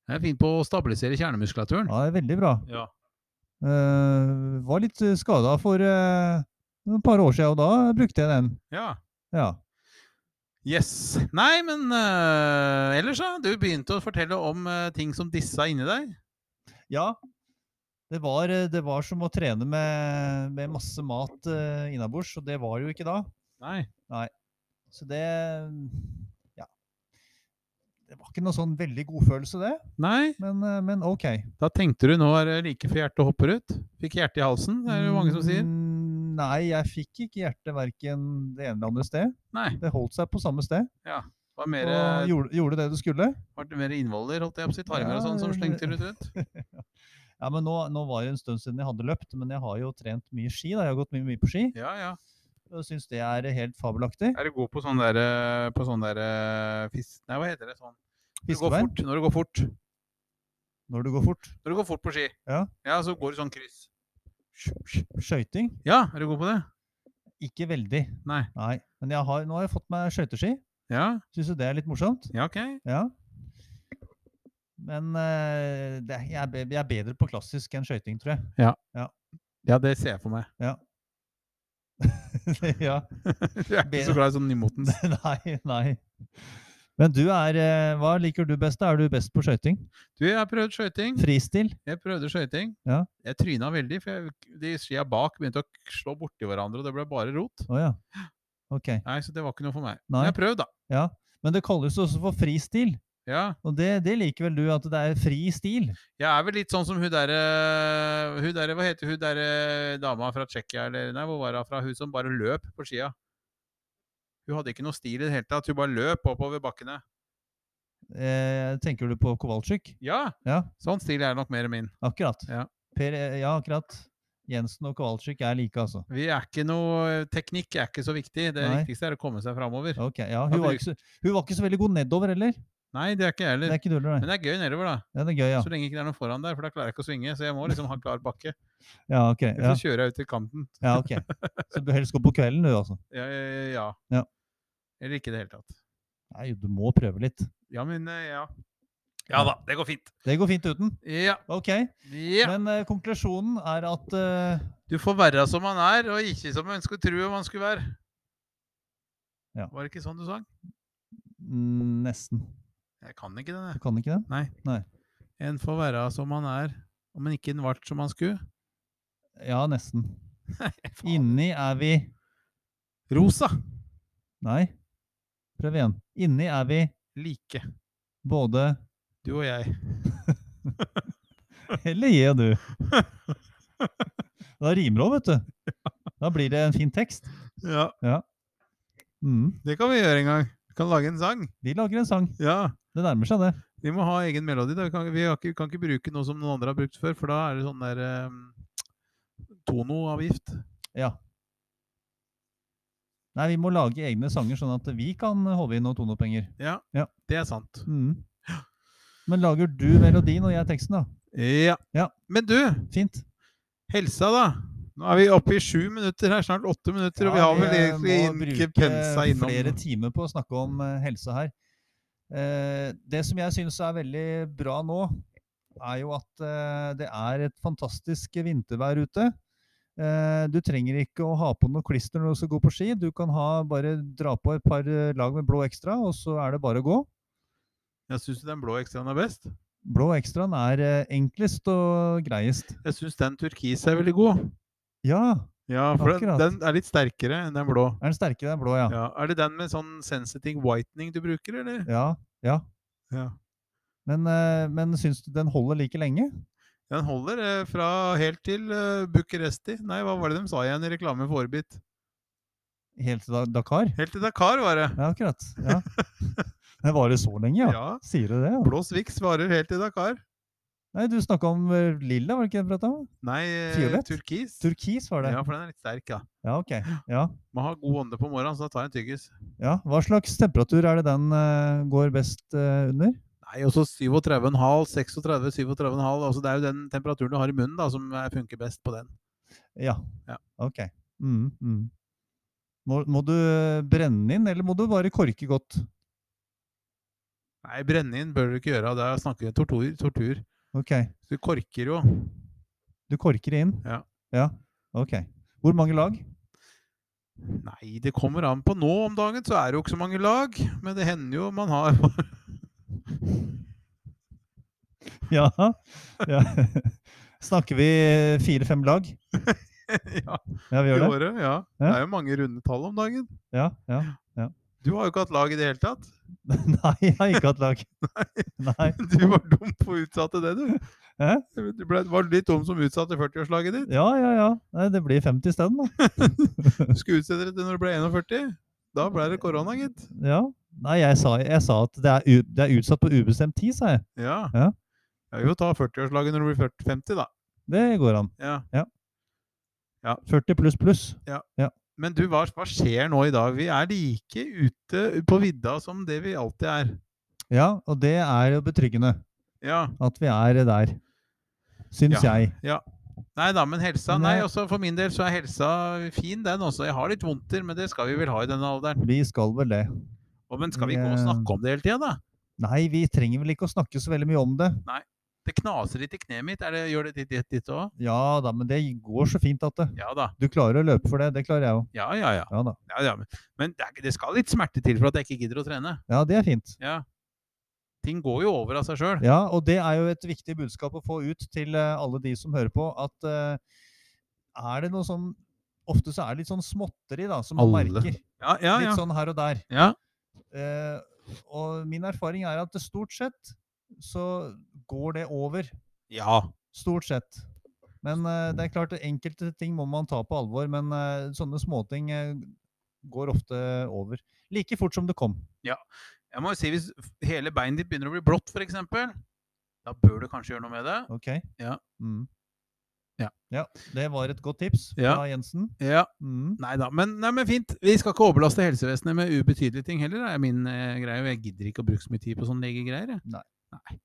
Det er fint på å stabilisere kjernemuskulaturen. Ja, det er veldig bra. Ja. Eh, var litt skada for eh, et par år siden, og da brukte jeg den. ja. Ja. Yes. Nei, men eh, ellers, da. Du begynte å fortelle om eh, ting som dissa inni deg. Ja. Det var, eh, det var som å trene med, med masse mat uh, innabords, og det var det jo ikke da. Nei. Så det Ja. Det var ikke noe sånn veldig godfølelse, det, Nei, men, eh, men OK. Da tenkte du nå er det like før hjertet hopper ut. Fikk hjertet i halsen, det er det jo mange som sier. Mm, Nei, jeg fikk ikke hjertet verken det ene eller andre sted. Nei. Det holdt seg på samme sted. Det var mer, eh, Og gjorde, gjorde det det skulle. var det mer innvoller, holdt jeg på å si. Tarmer og sånn som Ja, slengte rundt rundt. Ja, men nå, nå var det en stund siden jeg hadde løpt, men jeg har jo trent mye ski. da. Jeg har gått mye, mye på ski. Ja, ja. Og syns det er helt fabelaktig. Er du god på sånn der, eh, på sånn der eh, fis... Nei, hva heter det sånn? Når du går Fiskebein fort. Når du går fort. når du går fort. Når du går fort på ski. Ja. ja så går du sånn kryss. Skøyting? Ja, er du god på det? Ikke veldig. Nei. Nei. Men jeg har, nå har jeg fått meg skøyteski. Ja, Syns jo det er litt morsomt. ja ok. Ja. Men eh, det, jeg, er be- jeg er bedre på klassisk enn skøyting, tror jeg. Ja, det ser jeg for meg. ja. Du er ikke Bedre. så glad i sånn nymotens. Nei, nei. Men du er eh, Hva liker du best? da? Er du best på skøyting? Du, jeg har prøvd skøyting. Fristil? Jeg prøvde skøyting. Ja. Jeg tryna veldig, for jeg, de skia bak begynte å k- slå borti hverandre, og det ble bare rot. Å ja. Ok. Nei, så det var ikke noe for meg. Nei. Men jeg har prøvd, da. Ja. Men det kalles også for fristil. Ja. Og det, det liker vel du, at det er fri stil? Jeg er vel litt sånn som hun derre Hun derre, hva heter hun derre dama fra Tsjekkia, eller nei, hvor var hun fra? Hun som bare løp på skia. Hun hadde ikke noe stil i det hele tatt. Hun bare løp oppover bakkene. Eh, tenker du på Kowalczyk? Ja! Ja. Sånn stil er nok mer min. Akkurat. Ja. Per, eh, ja, akkurat. Jensen og Kowalczyk er like, altså. Vi er ikke noe Teknikk er ikke så viktig. Det Nei. viktigste er å komme seg framover. Ok, ja, hun, var bruk- ikke så, hun var ikke så veldig god nedover heller. Nei, det er ikke jeg Det heller. er ikke du heller, Men nei. det er gøy nedover, da. Ja, det er gøy, ja. Så lenge ikke det er noe foran der, for da klarer jeg ikke å svinge. Så jeg må liksom ha klar bakke. Ja, ok. Ja, Ellers så kjører jeg ut til kanten. ja, ok. Så du helst gå på kvelden, du, altså. Ja, ja, ja. Ja. Eller ikke i det hele tatt. Nei, du må prøve litt. Ja, men eh, ja. Ja da, det går fint. Det går fint uten. Ja. Ok. ja. Men eh, konklusjonen er at eh, Du får være som man er, og ikke som man skulle tro man skulle være. Ja. Var det ikke sånn du sang? mm, Nesten. Jeg kan ikke den, Du jeg. kan ikke den? En får være som man er, om en ikke ble som man skulle. Ja, nesten. Faen. Inni er vi Rosa. Nei. Prøv igjen. Inni er vi Like. både Du og jeg. Eller gi, du. Da rimer det òg, vet du. Da blir det en fin tekst. Ja, Mm. det kan vi gjøre en gang. Vi kan lage en sang. Vi lager en sang. Ja. Det nærmer seg, det. Vi må ha egen melodi. Da. Vi, kan, vi har ikke, kan ikke bruke noe som noen andre har brukt før, for da er det sånn der ehm, tonoavgift. Ja. Nei, vi må lage egne sanger, sånn at vi kan håve inn noen tonepenger. Ja, Ja. det er sant. Mm. Men lager du melodien og jeg teksten, da? Ja. Ja. Men du, Fint. helsa, da? Nå er vi oppe i sju minutter her, snart åtte minutter, og vi har vel Ja, vi, egentlig eh, må inn- ikke bruke pensa innom flere timer på å snakke om eh, helse her. Eh, Det som jeg syns er veldig bra nå, er jo at eh, det er et fantastisk vintervær ute. Eh, Du trenger ikke å ha på noe klister når du skal gå på ski. Du kan ha, bare dra på et par eh, lag med blå ekstra, og så er det bare å gå. Jeg syns den blå ekstraen er best. Blå ekstraen er eh, enklest og greiest. Jeg syns den turkis er veldig god. Ja, Ja, for den, Akkurat. den er litt sterkere enn den blå. er den sterkere enn blå, ja. Ja. Er det den med sånn sensitive whitening du bruker, eller? Ja, Ja. Ja. Men, eh, men syns du den holder like lenge? Den holder eh, fra helt til eh, Bucuresti. Nei, hva var det de sa igjen i reklame for Orbit? Helt til Da- Dakar? Helt til Dakar, var det. Ja, akkurat. Ja. Den varer så lenge, ja. Ja. Sier du det? Ja. Blå Swix varer helt til Dakar. Nei, du snakka om eh, lilla, var det ikke det du prata om? Nei, eh, Fiolett? turkis. Turkis var det. Ja, for den er litt sterk, da. Ja, ok. Ja. Må ha god ånde på morgenen, så da tar jeg en tyggis. ja. Hva slags temperatur er det den eh, går best eh, under? Nei, og så 37,5, 36, 37,5. Altså, det er jo den temperaturen du har i munnen da, som eh, funker best på den. Ja. Ja. Ok. Mm, mm. Må, må du eh, brenne inn, eller må du bare korke godt? Nei, brennevin bør du ikke gjøre. Det er snakker vi om tortur. tortur. Ok. Du korker jo. Du korker inn? Ja. ja. Ok. Hvor mange lag? Nei, det kommer an på nå om dagen, så er det jo ikke så mange lag. Men det hender jo man har Ja. ja. Snakker vi fire-fem lag? ja, Ja, i vi gjør det? året. Ja. Det er jo mange runde tall om dagen. Ja, ja. Du har jo ikke hatt lag i det hele tatt. Nei, jeg har ikke hatt lag. Nei. Du var dum på å utsatte det, du. Hæ? Du ble, var litt dum som utsatte 40-årslaget ditt. Ja, ja, ja. Nei, det blir 50 isteden, da. Du skulle utsette det til når du ble 41. Da ble det korona, gitt. Ja. Nei, jeg sa, jeg sa at det er, u det er utsatt på ubestemt tid, sa jeg. Ja. Ja. Ja, jo, ta 40-årslaget når du blir 40 50, da. Det går an. Ja. 40 pluss pluss. Men du, hva, hva skjer nå i dag? Vi er like ute på vidda som det vi alltid er. Ja, og det er jo betryggende Ja. at vi er der. Syns jeg. Nei da, men helsa Men Nei, jeg- også for min del så er helsa fin, den også. Jeg har litt vondter, men det skal vi vel ha i denne alderen. Vi skal vel det. Å, men skal vi gå og snakke om det hele tida, da? Nei, vi trenger vel ikke å snakke så veldig mye om det. Det knaser litt i kneet mitt. Er det, gjør det ditt ditt ditt òg? Ja da, men det går så fint at det. Ja da. Du klarer å løpe for det. Det klarer jeg òg. Ja, ja, ja. Ja da. ja, ja. men- Men det, er, ikke- det skal litt smerte til for at jeg ikke gidder å trene. Ja, det er fint. Ja. Ting går jo over av seg sjøl. Ja, og det er jo et viktig budskap å få ut til eh, alle de som hører på, at eh, er det noe som Ofte så er det litt sånn småtteri, da, som man Alle. merker. Ja, ja, Litt ja. sånn her og der. ja. Eh, og min erfaring er at det stort sett så går det over. ja. Stort sett. Men eh, det er klart, det enkelte ting må man ta på alvor, men eh, sånne småting eh, går ofte over. Like fort som det kom. Jeg må jo si, hvis hele beinet ditt begynner å bli blått, f.eks., da bør du kanskje gjøre noe med det. Ok? Ja. Mm. Ja. Det var et godt tips Ja. fra Jensen. Ja, Mm. Nei da. Men, nei, men fint. Vi skal ikke overbelaste helsevesenet med ubetydelige ting heller. Det er min eh, greie. og Jeg gidder ikke å bruke så mye tid på sånne legegreier. jeg. Nei. Nei.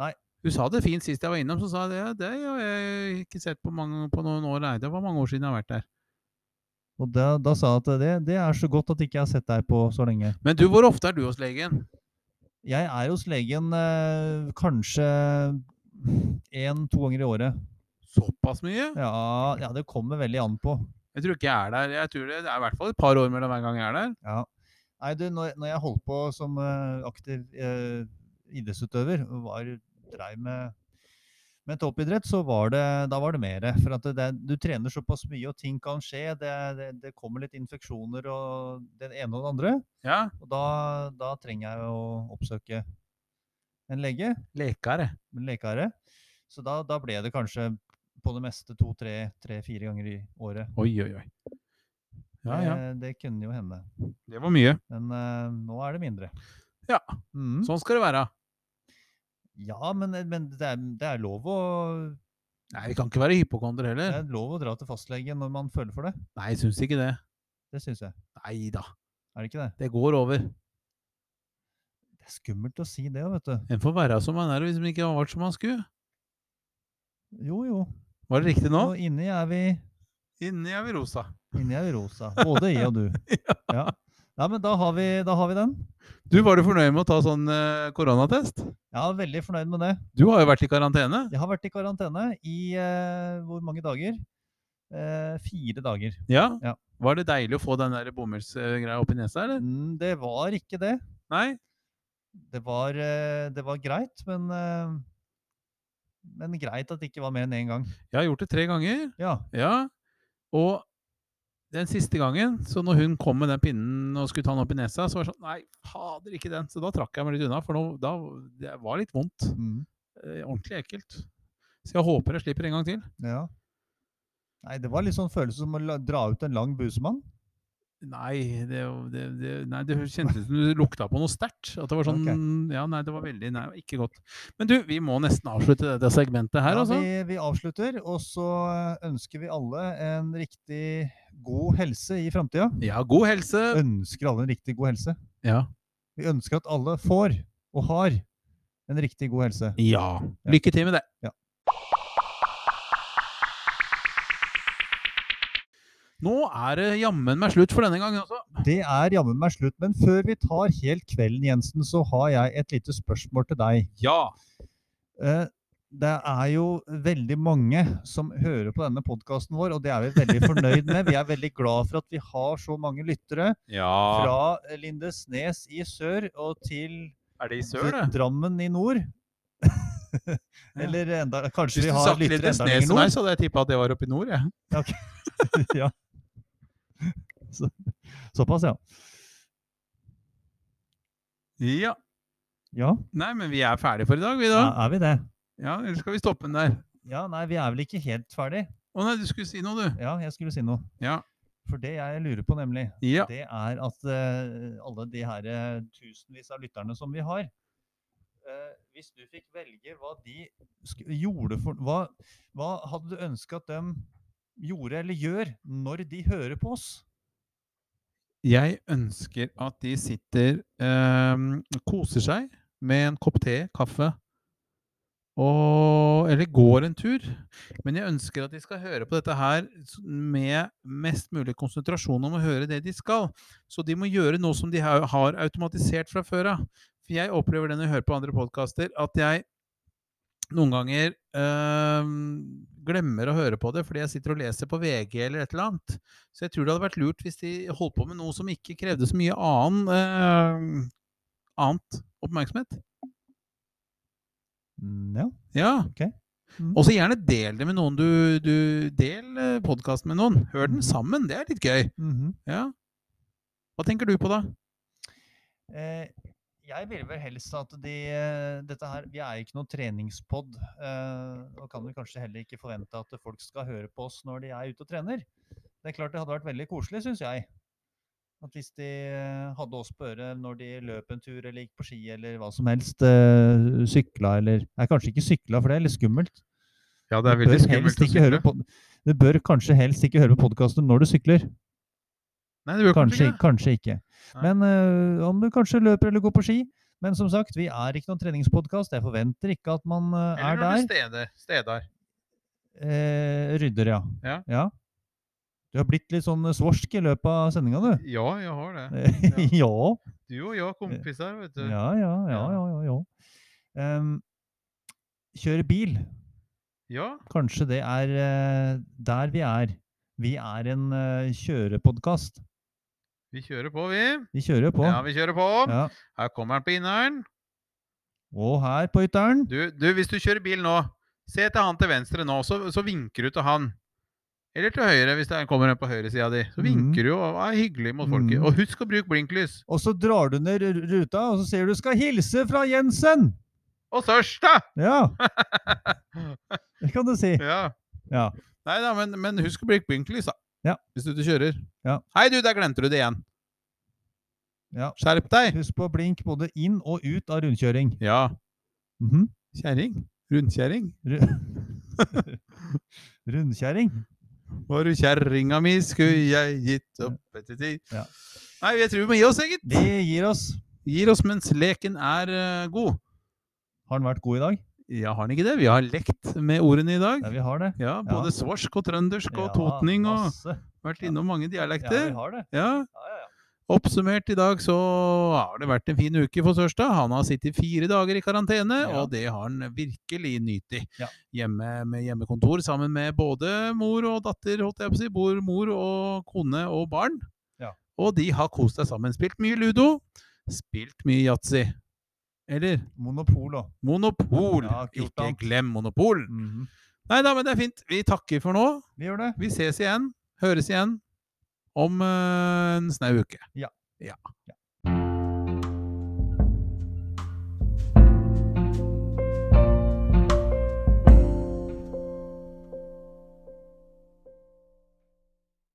Nei. Du sa det fint sist jeg var innom, så sa jeg det. Ja, det har jeg ikke sett på, mange, på noen år. Nei, det var mange år siden jeg har vært der. Og da, da sa jeg at det, det er så godt at ikke jeg har sett deg på så lenge. Men du, hvor ofte er du hos legen? Jeg er hos legen eh, kanskje én-to ganger i året. Såpass mye? Ja, ja, det kommer veldig an på. Jeg tror ikke jeg er der. Jeg tror det er i hvert fall et par år mellom hver gang jeg er der. Ja. Nei, du, når, når jeg holdt på som eh, aktiv eh, idrettsutøver, og var, drev med, med toppidrett, så var det, da var det mer. For at det, det, du trener såpass mye, og ting kan skje. Det, det, det kommer litt infeksjoner og den ene og den andre. Ja. Og da, da trenger jeg å oppsøke en lege, Lekere. en lekare. Så da, da ble det kanskje på det meste to-tre-fire ganger i året. Oi, oi, oi. Ja, ja. Eh, Det, kunne jo hende. Det var mye. Men eh, nå er det mindre. Ja. Mm. Sånn skal det være. Ja, men, eh, men det, er, det, er lov å, Nei, vi kan ikke være hypokonder det heller. er lov å dra til fastlegen når man føler for det. Nei, jeg syns ikke det. Det syns jeg. Nei da. Er det ikke det? Det går over. Det er skummelt å si det, vet du. En får være som man er hvis man ikke har vært som man skulle. Jo, jo. Var det riktig nå? Og inni er vi, Inni er vi rosa. inni er vi rosa. Både jeg og du. Ja. ja, men da har, vi, da har vi den. Du, var du fornøyd med å ta sånn eh, koronatest? Jeg er veldig fornøyd med det. Du har jo vært i karantene. Jeg har vært i karantene i eh, hvor mange dager? Eh, fire dager. Ja. Ja. Var det deilig å få den der bomullsgreia opp i nesa, eller? Mm, Det var ikke det. Nei? Det var, eh, det var greit, men, eh, men greit at det ikke var mer enn én gang. Jeg har gjort det tre ganger. Ja. Ja. Og den siste gangen, så når hun kom med den pinnen og skulle ta den opp i nesa, så var det sånn Nei, fader, ikke den. Så da trakk jeg meg litt unna, for nå, da, det var litt vondt. Mm. Eh, ordentlig ekkelt. Så jeg håper jeg slipper en gang til. Ja. Nei, det var litt sånn følelse som å la- dra ut en lang busemann. Nei, det, det, det, nei, det kjentes ut som du lukta på noe sterkt. At det var sånn Ja, nei, det var veldig Nei, ikke godt. Men du, vi må nesten avslutte dette segmentet her, Ja, altså. vi, vi avslutter, og så eh, ønsker vi alle en riktig god helse i framtida. Ja, god helse. Eh, Ønsker alle en riktig god helse. Ja. Vi ønsker at alle får, og har, en riktig god helse. ja. Lykke til med det. Ja. Nå er det jammen meg slutt for denne gangen også. Det er jammen meg slutt, men før vi tar helt kvelden, Jensen, så har jeg et lite spørsmål til deg. Ja. Eh, Det er jo veldig mange som hører på denne podkasten vår, og det er vi veldig fornøyd med. Vi er veldig glad for at vi har så mange lyttere. Ja. Fra Lindesnes i sør og til Er det i sør, Dr- det? Drammen i nord. Eller enda Kanskje Hvis vi du har sagt lyttere enda Lindesnes lenger som meg, nord. så hadde jeg tippa at det var oppe i nord, jeg. ja. Så, såpass, ja. Ja. Ja, Nei, men vi er ferdige for i dag, vi da. er er vi det? Ja, Eller skal vi stoppe den der? Ja, nei, vi er vel ikke helt ferdig. Å nei, du skulle si noe, du. Ja, jeg skulle si noe. Ja. For det jeg lurer på, nemlig, Ja. det er at eh, alle de her eh, tusenvis av lytterne som vi har eh, Hvis du fikk velge hva de sk gjorde for Hva, hva hadde du ønska at dem gjorde eller gjør når de hører på oss? Jeg ønsker at de sitter ehm, koser seg med en kopp te, kaffe og Eller går en tur. Men jeg ønsker at de skal høre på dette her s- med mest mulig konsentrasjon om å høre det de skal. Så de må gjøre noe som de ha- har automatisert fra før av. For jeg opplever det når jeg hører på andre podkaster, at jeg noen ganger ehm, glemmer å høre på det fordi jeg sitter og leser på VG eller et eller annet. Så jeg tror det hadde vært lurt hvis de holdt på med noe som ikke krevde så mye annen, eh, annet oppmerksomhet. Mm, ja. Ja. Ok. Mm. Og så gjerne del det med noen du, du Del podkasten med noen. Hør Mm. den sammen, det er litt gøy. mhm. Ja. Hva tenker du på da? Eh, jeg ville vel helst at de eh, dette her, Vi er jo ikke noe treningspod, eh, og kan vel kanskje heller ikke forvente at folk skal høre på oss når de er ute og trener. Det er klart det hadde vært veldig koselig, syns jeg. At hvis de eh, hadde oss på øret når de løp en tur eller gikk på ski eller hva som helst, eh, sykla eller Nei, kanskje ikke sykla, for det er litt skummelt. Ja, Du bør helst ikke høre på- Du bør kanskje helst ikke høre på podkasten når du sykler. Nei, det bør Kanskje, kanskje ikke- kanskje ikke. Nei. Men øh, om du kanskje løper eller går på ski. Men som sagt, vi er ikke noen treningspodkast. Jeg forventer ikke at man øh, er Eller der. steder. steder. Eh, rydder, ja. Ja. Du har blitt litt sånn øh, svorsk i løpet av sendinga, du. Ja, jeg har det. Eh, ja. Du og jeg er kompiser, vet Ja, ja, ja, ja, ja. ja. Ehm, kjøre bil. Ja. Kanskje det er øh, der vi er. Vi er en øh, kjørepodkast. Vi kjører på, vi. Vi kjører på. vi kjører på. Ja. Her kommer han på inneren. Og her på ytteren Du, du, hvis du kjører bil nå, se til han til venstre nå, så, så vinker du til han. Eller til høyre, hvis det kommer en på høyresida di. Så vinker du og er hyggelig mot folket. Mhm. Og husk å bruke blinklys. Og så drar du ned ru- ruta, og så sier du 'skal hilse fra Jensen'! Og sørst, da! Ja, det kan du si. ja. Ja. Nei da, men, men husk å bruke blinklys, da. Ja. Hvis du ikke kjører. Ja. Hei, du, der glemte du det igjen. ja. Skjerp deg! Husk på å blink både inn og ut av rundkjøring. Ja. Mhm. Kjerring. Rundkjerring. Ru- Rundkjæring. Var du kjerringa mi, skulle jeg gitt opp etter ti. Ja. Nei, jeg tror vi må gi oss, eget. Vi gir oss. Gir oss mens leken er eh, god. Har den vært god i dag? Ja, har den ikke det? Vi har lekt med ordene i dag. Ja, vi har det. Ja, både svorsk og trøndersk og Ja, totning og masse. vært innom mange Ja, vi dialekter. har det. Ja, Ja, ja, ja. Oppsummert i dag så har det vært en fin uke for Sørstad. Han har sittet fire dager i karantene, Ja. og det har han virkelig nytt i. Ja. Hjemme med hjemmekontor sammen med både mor og datter, holdt jeg på å si. Bor mor og kone og barn. Ja. Og de har kost seg sammen. Spilt mye ludo, spilt mye yatzy. Eller Monopol òg. Monopol! Ja, ikke gjort Ikke annet. glem Monopol! Nei da, men det er fint. Vi takker for nå. Mhm. Vi gjør det. Vi ses igjen. Høres igjen. om eh, en snau uke. Ja. Ja. Ja.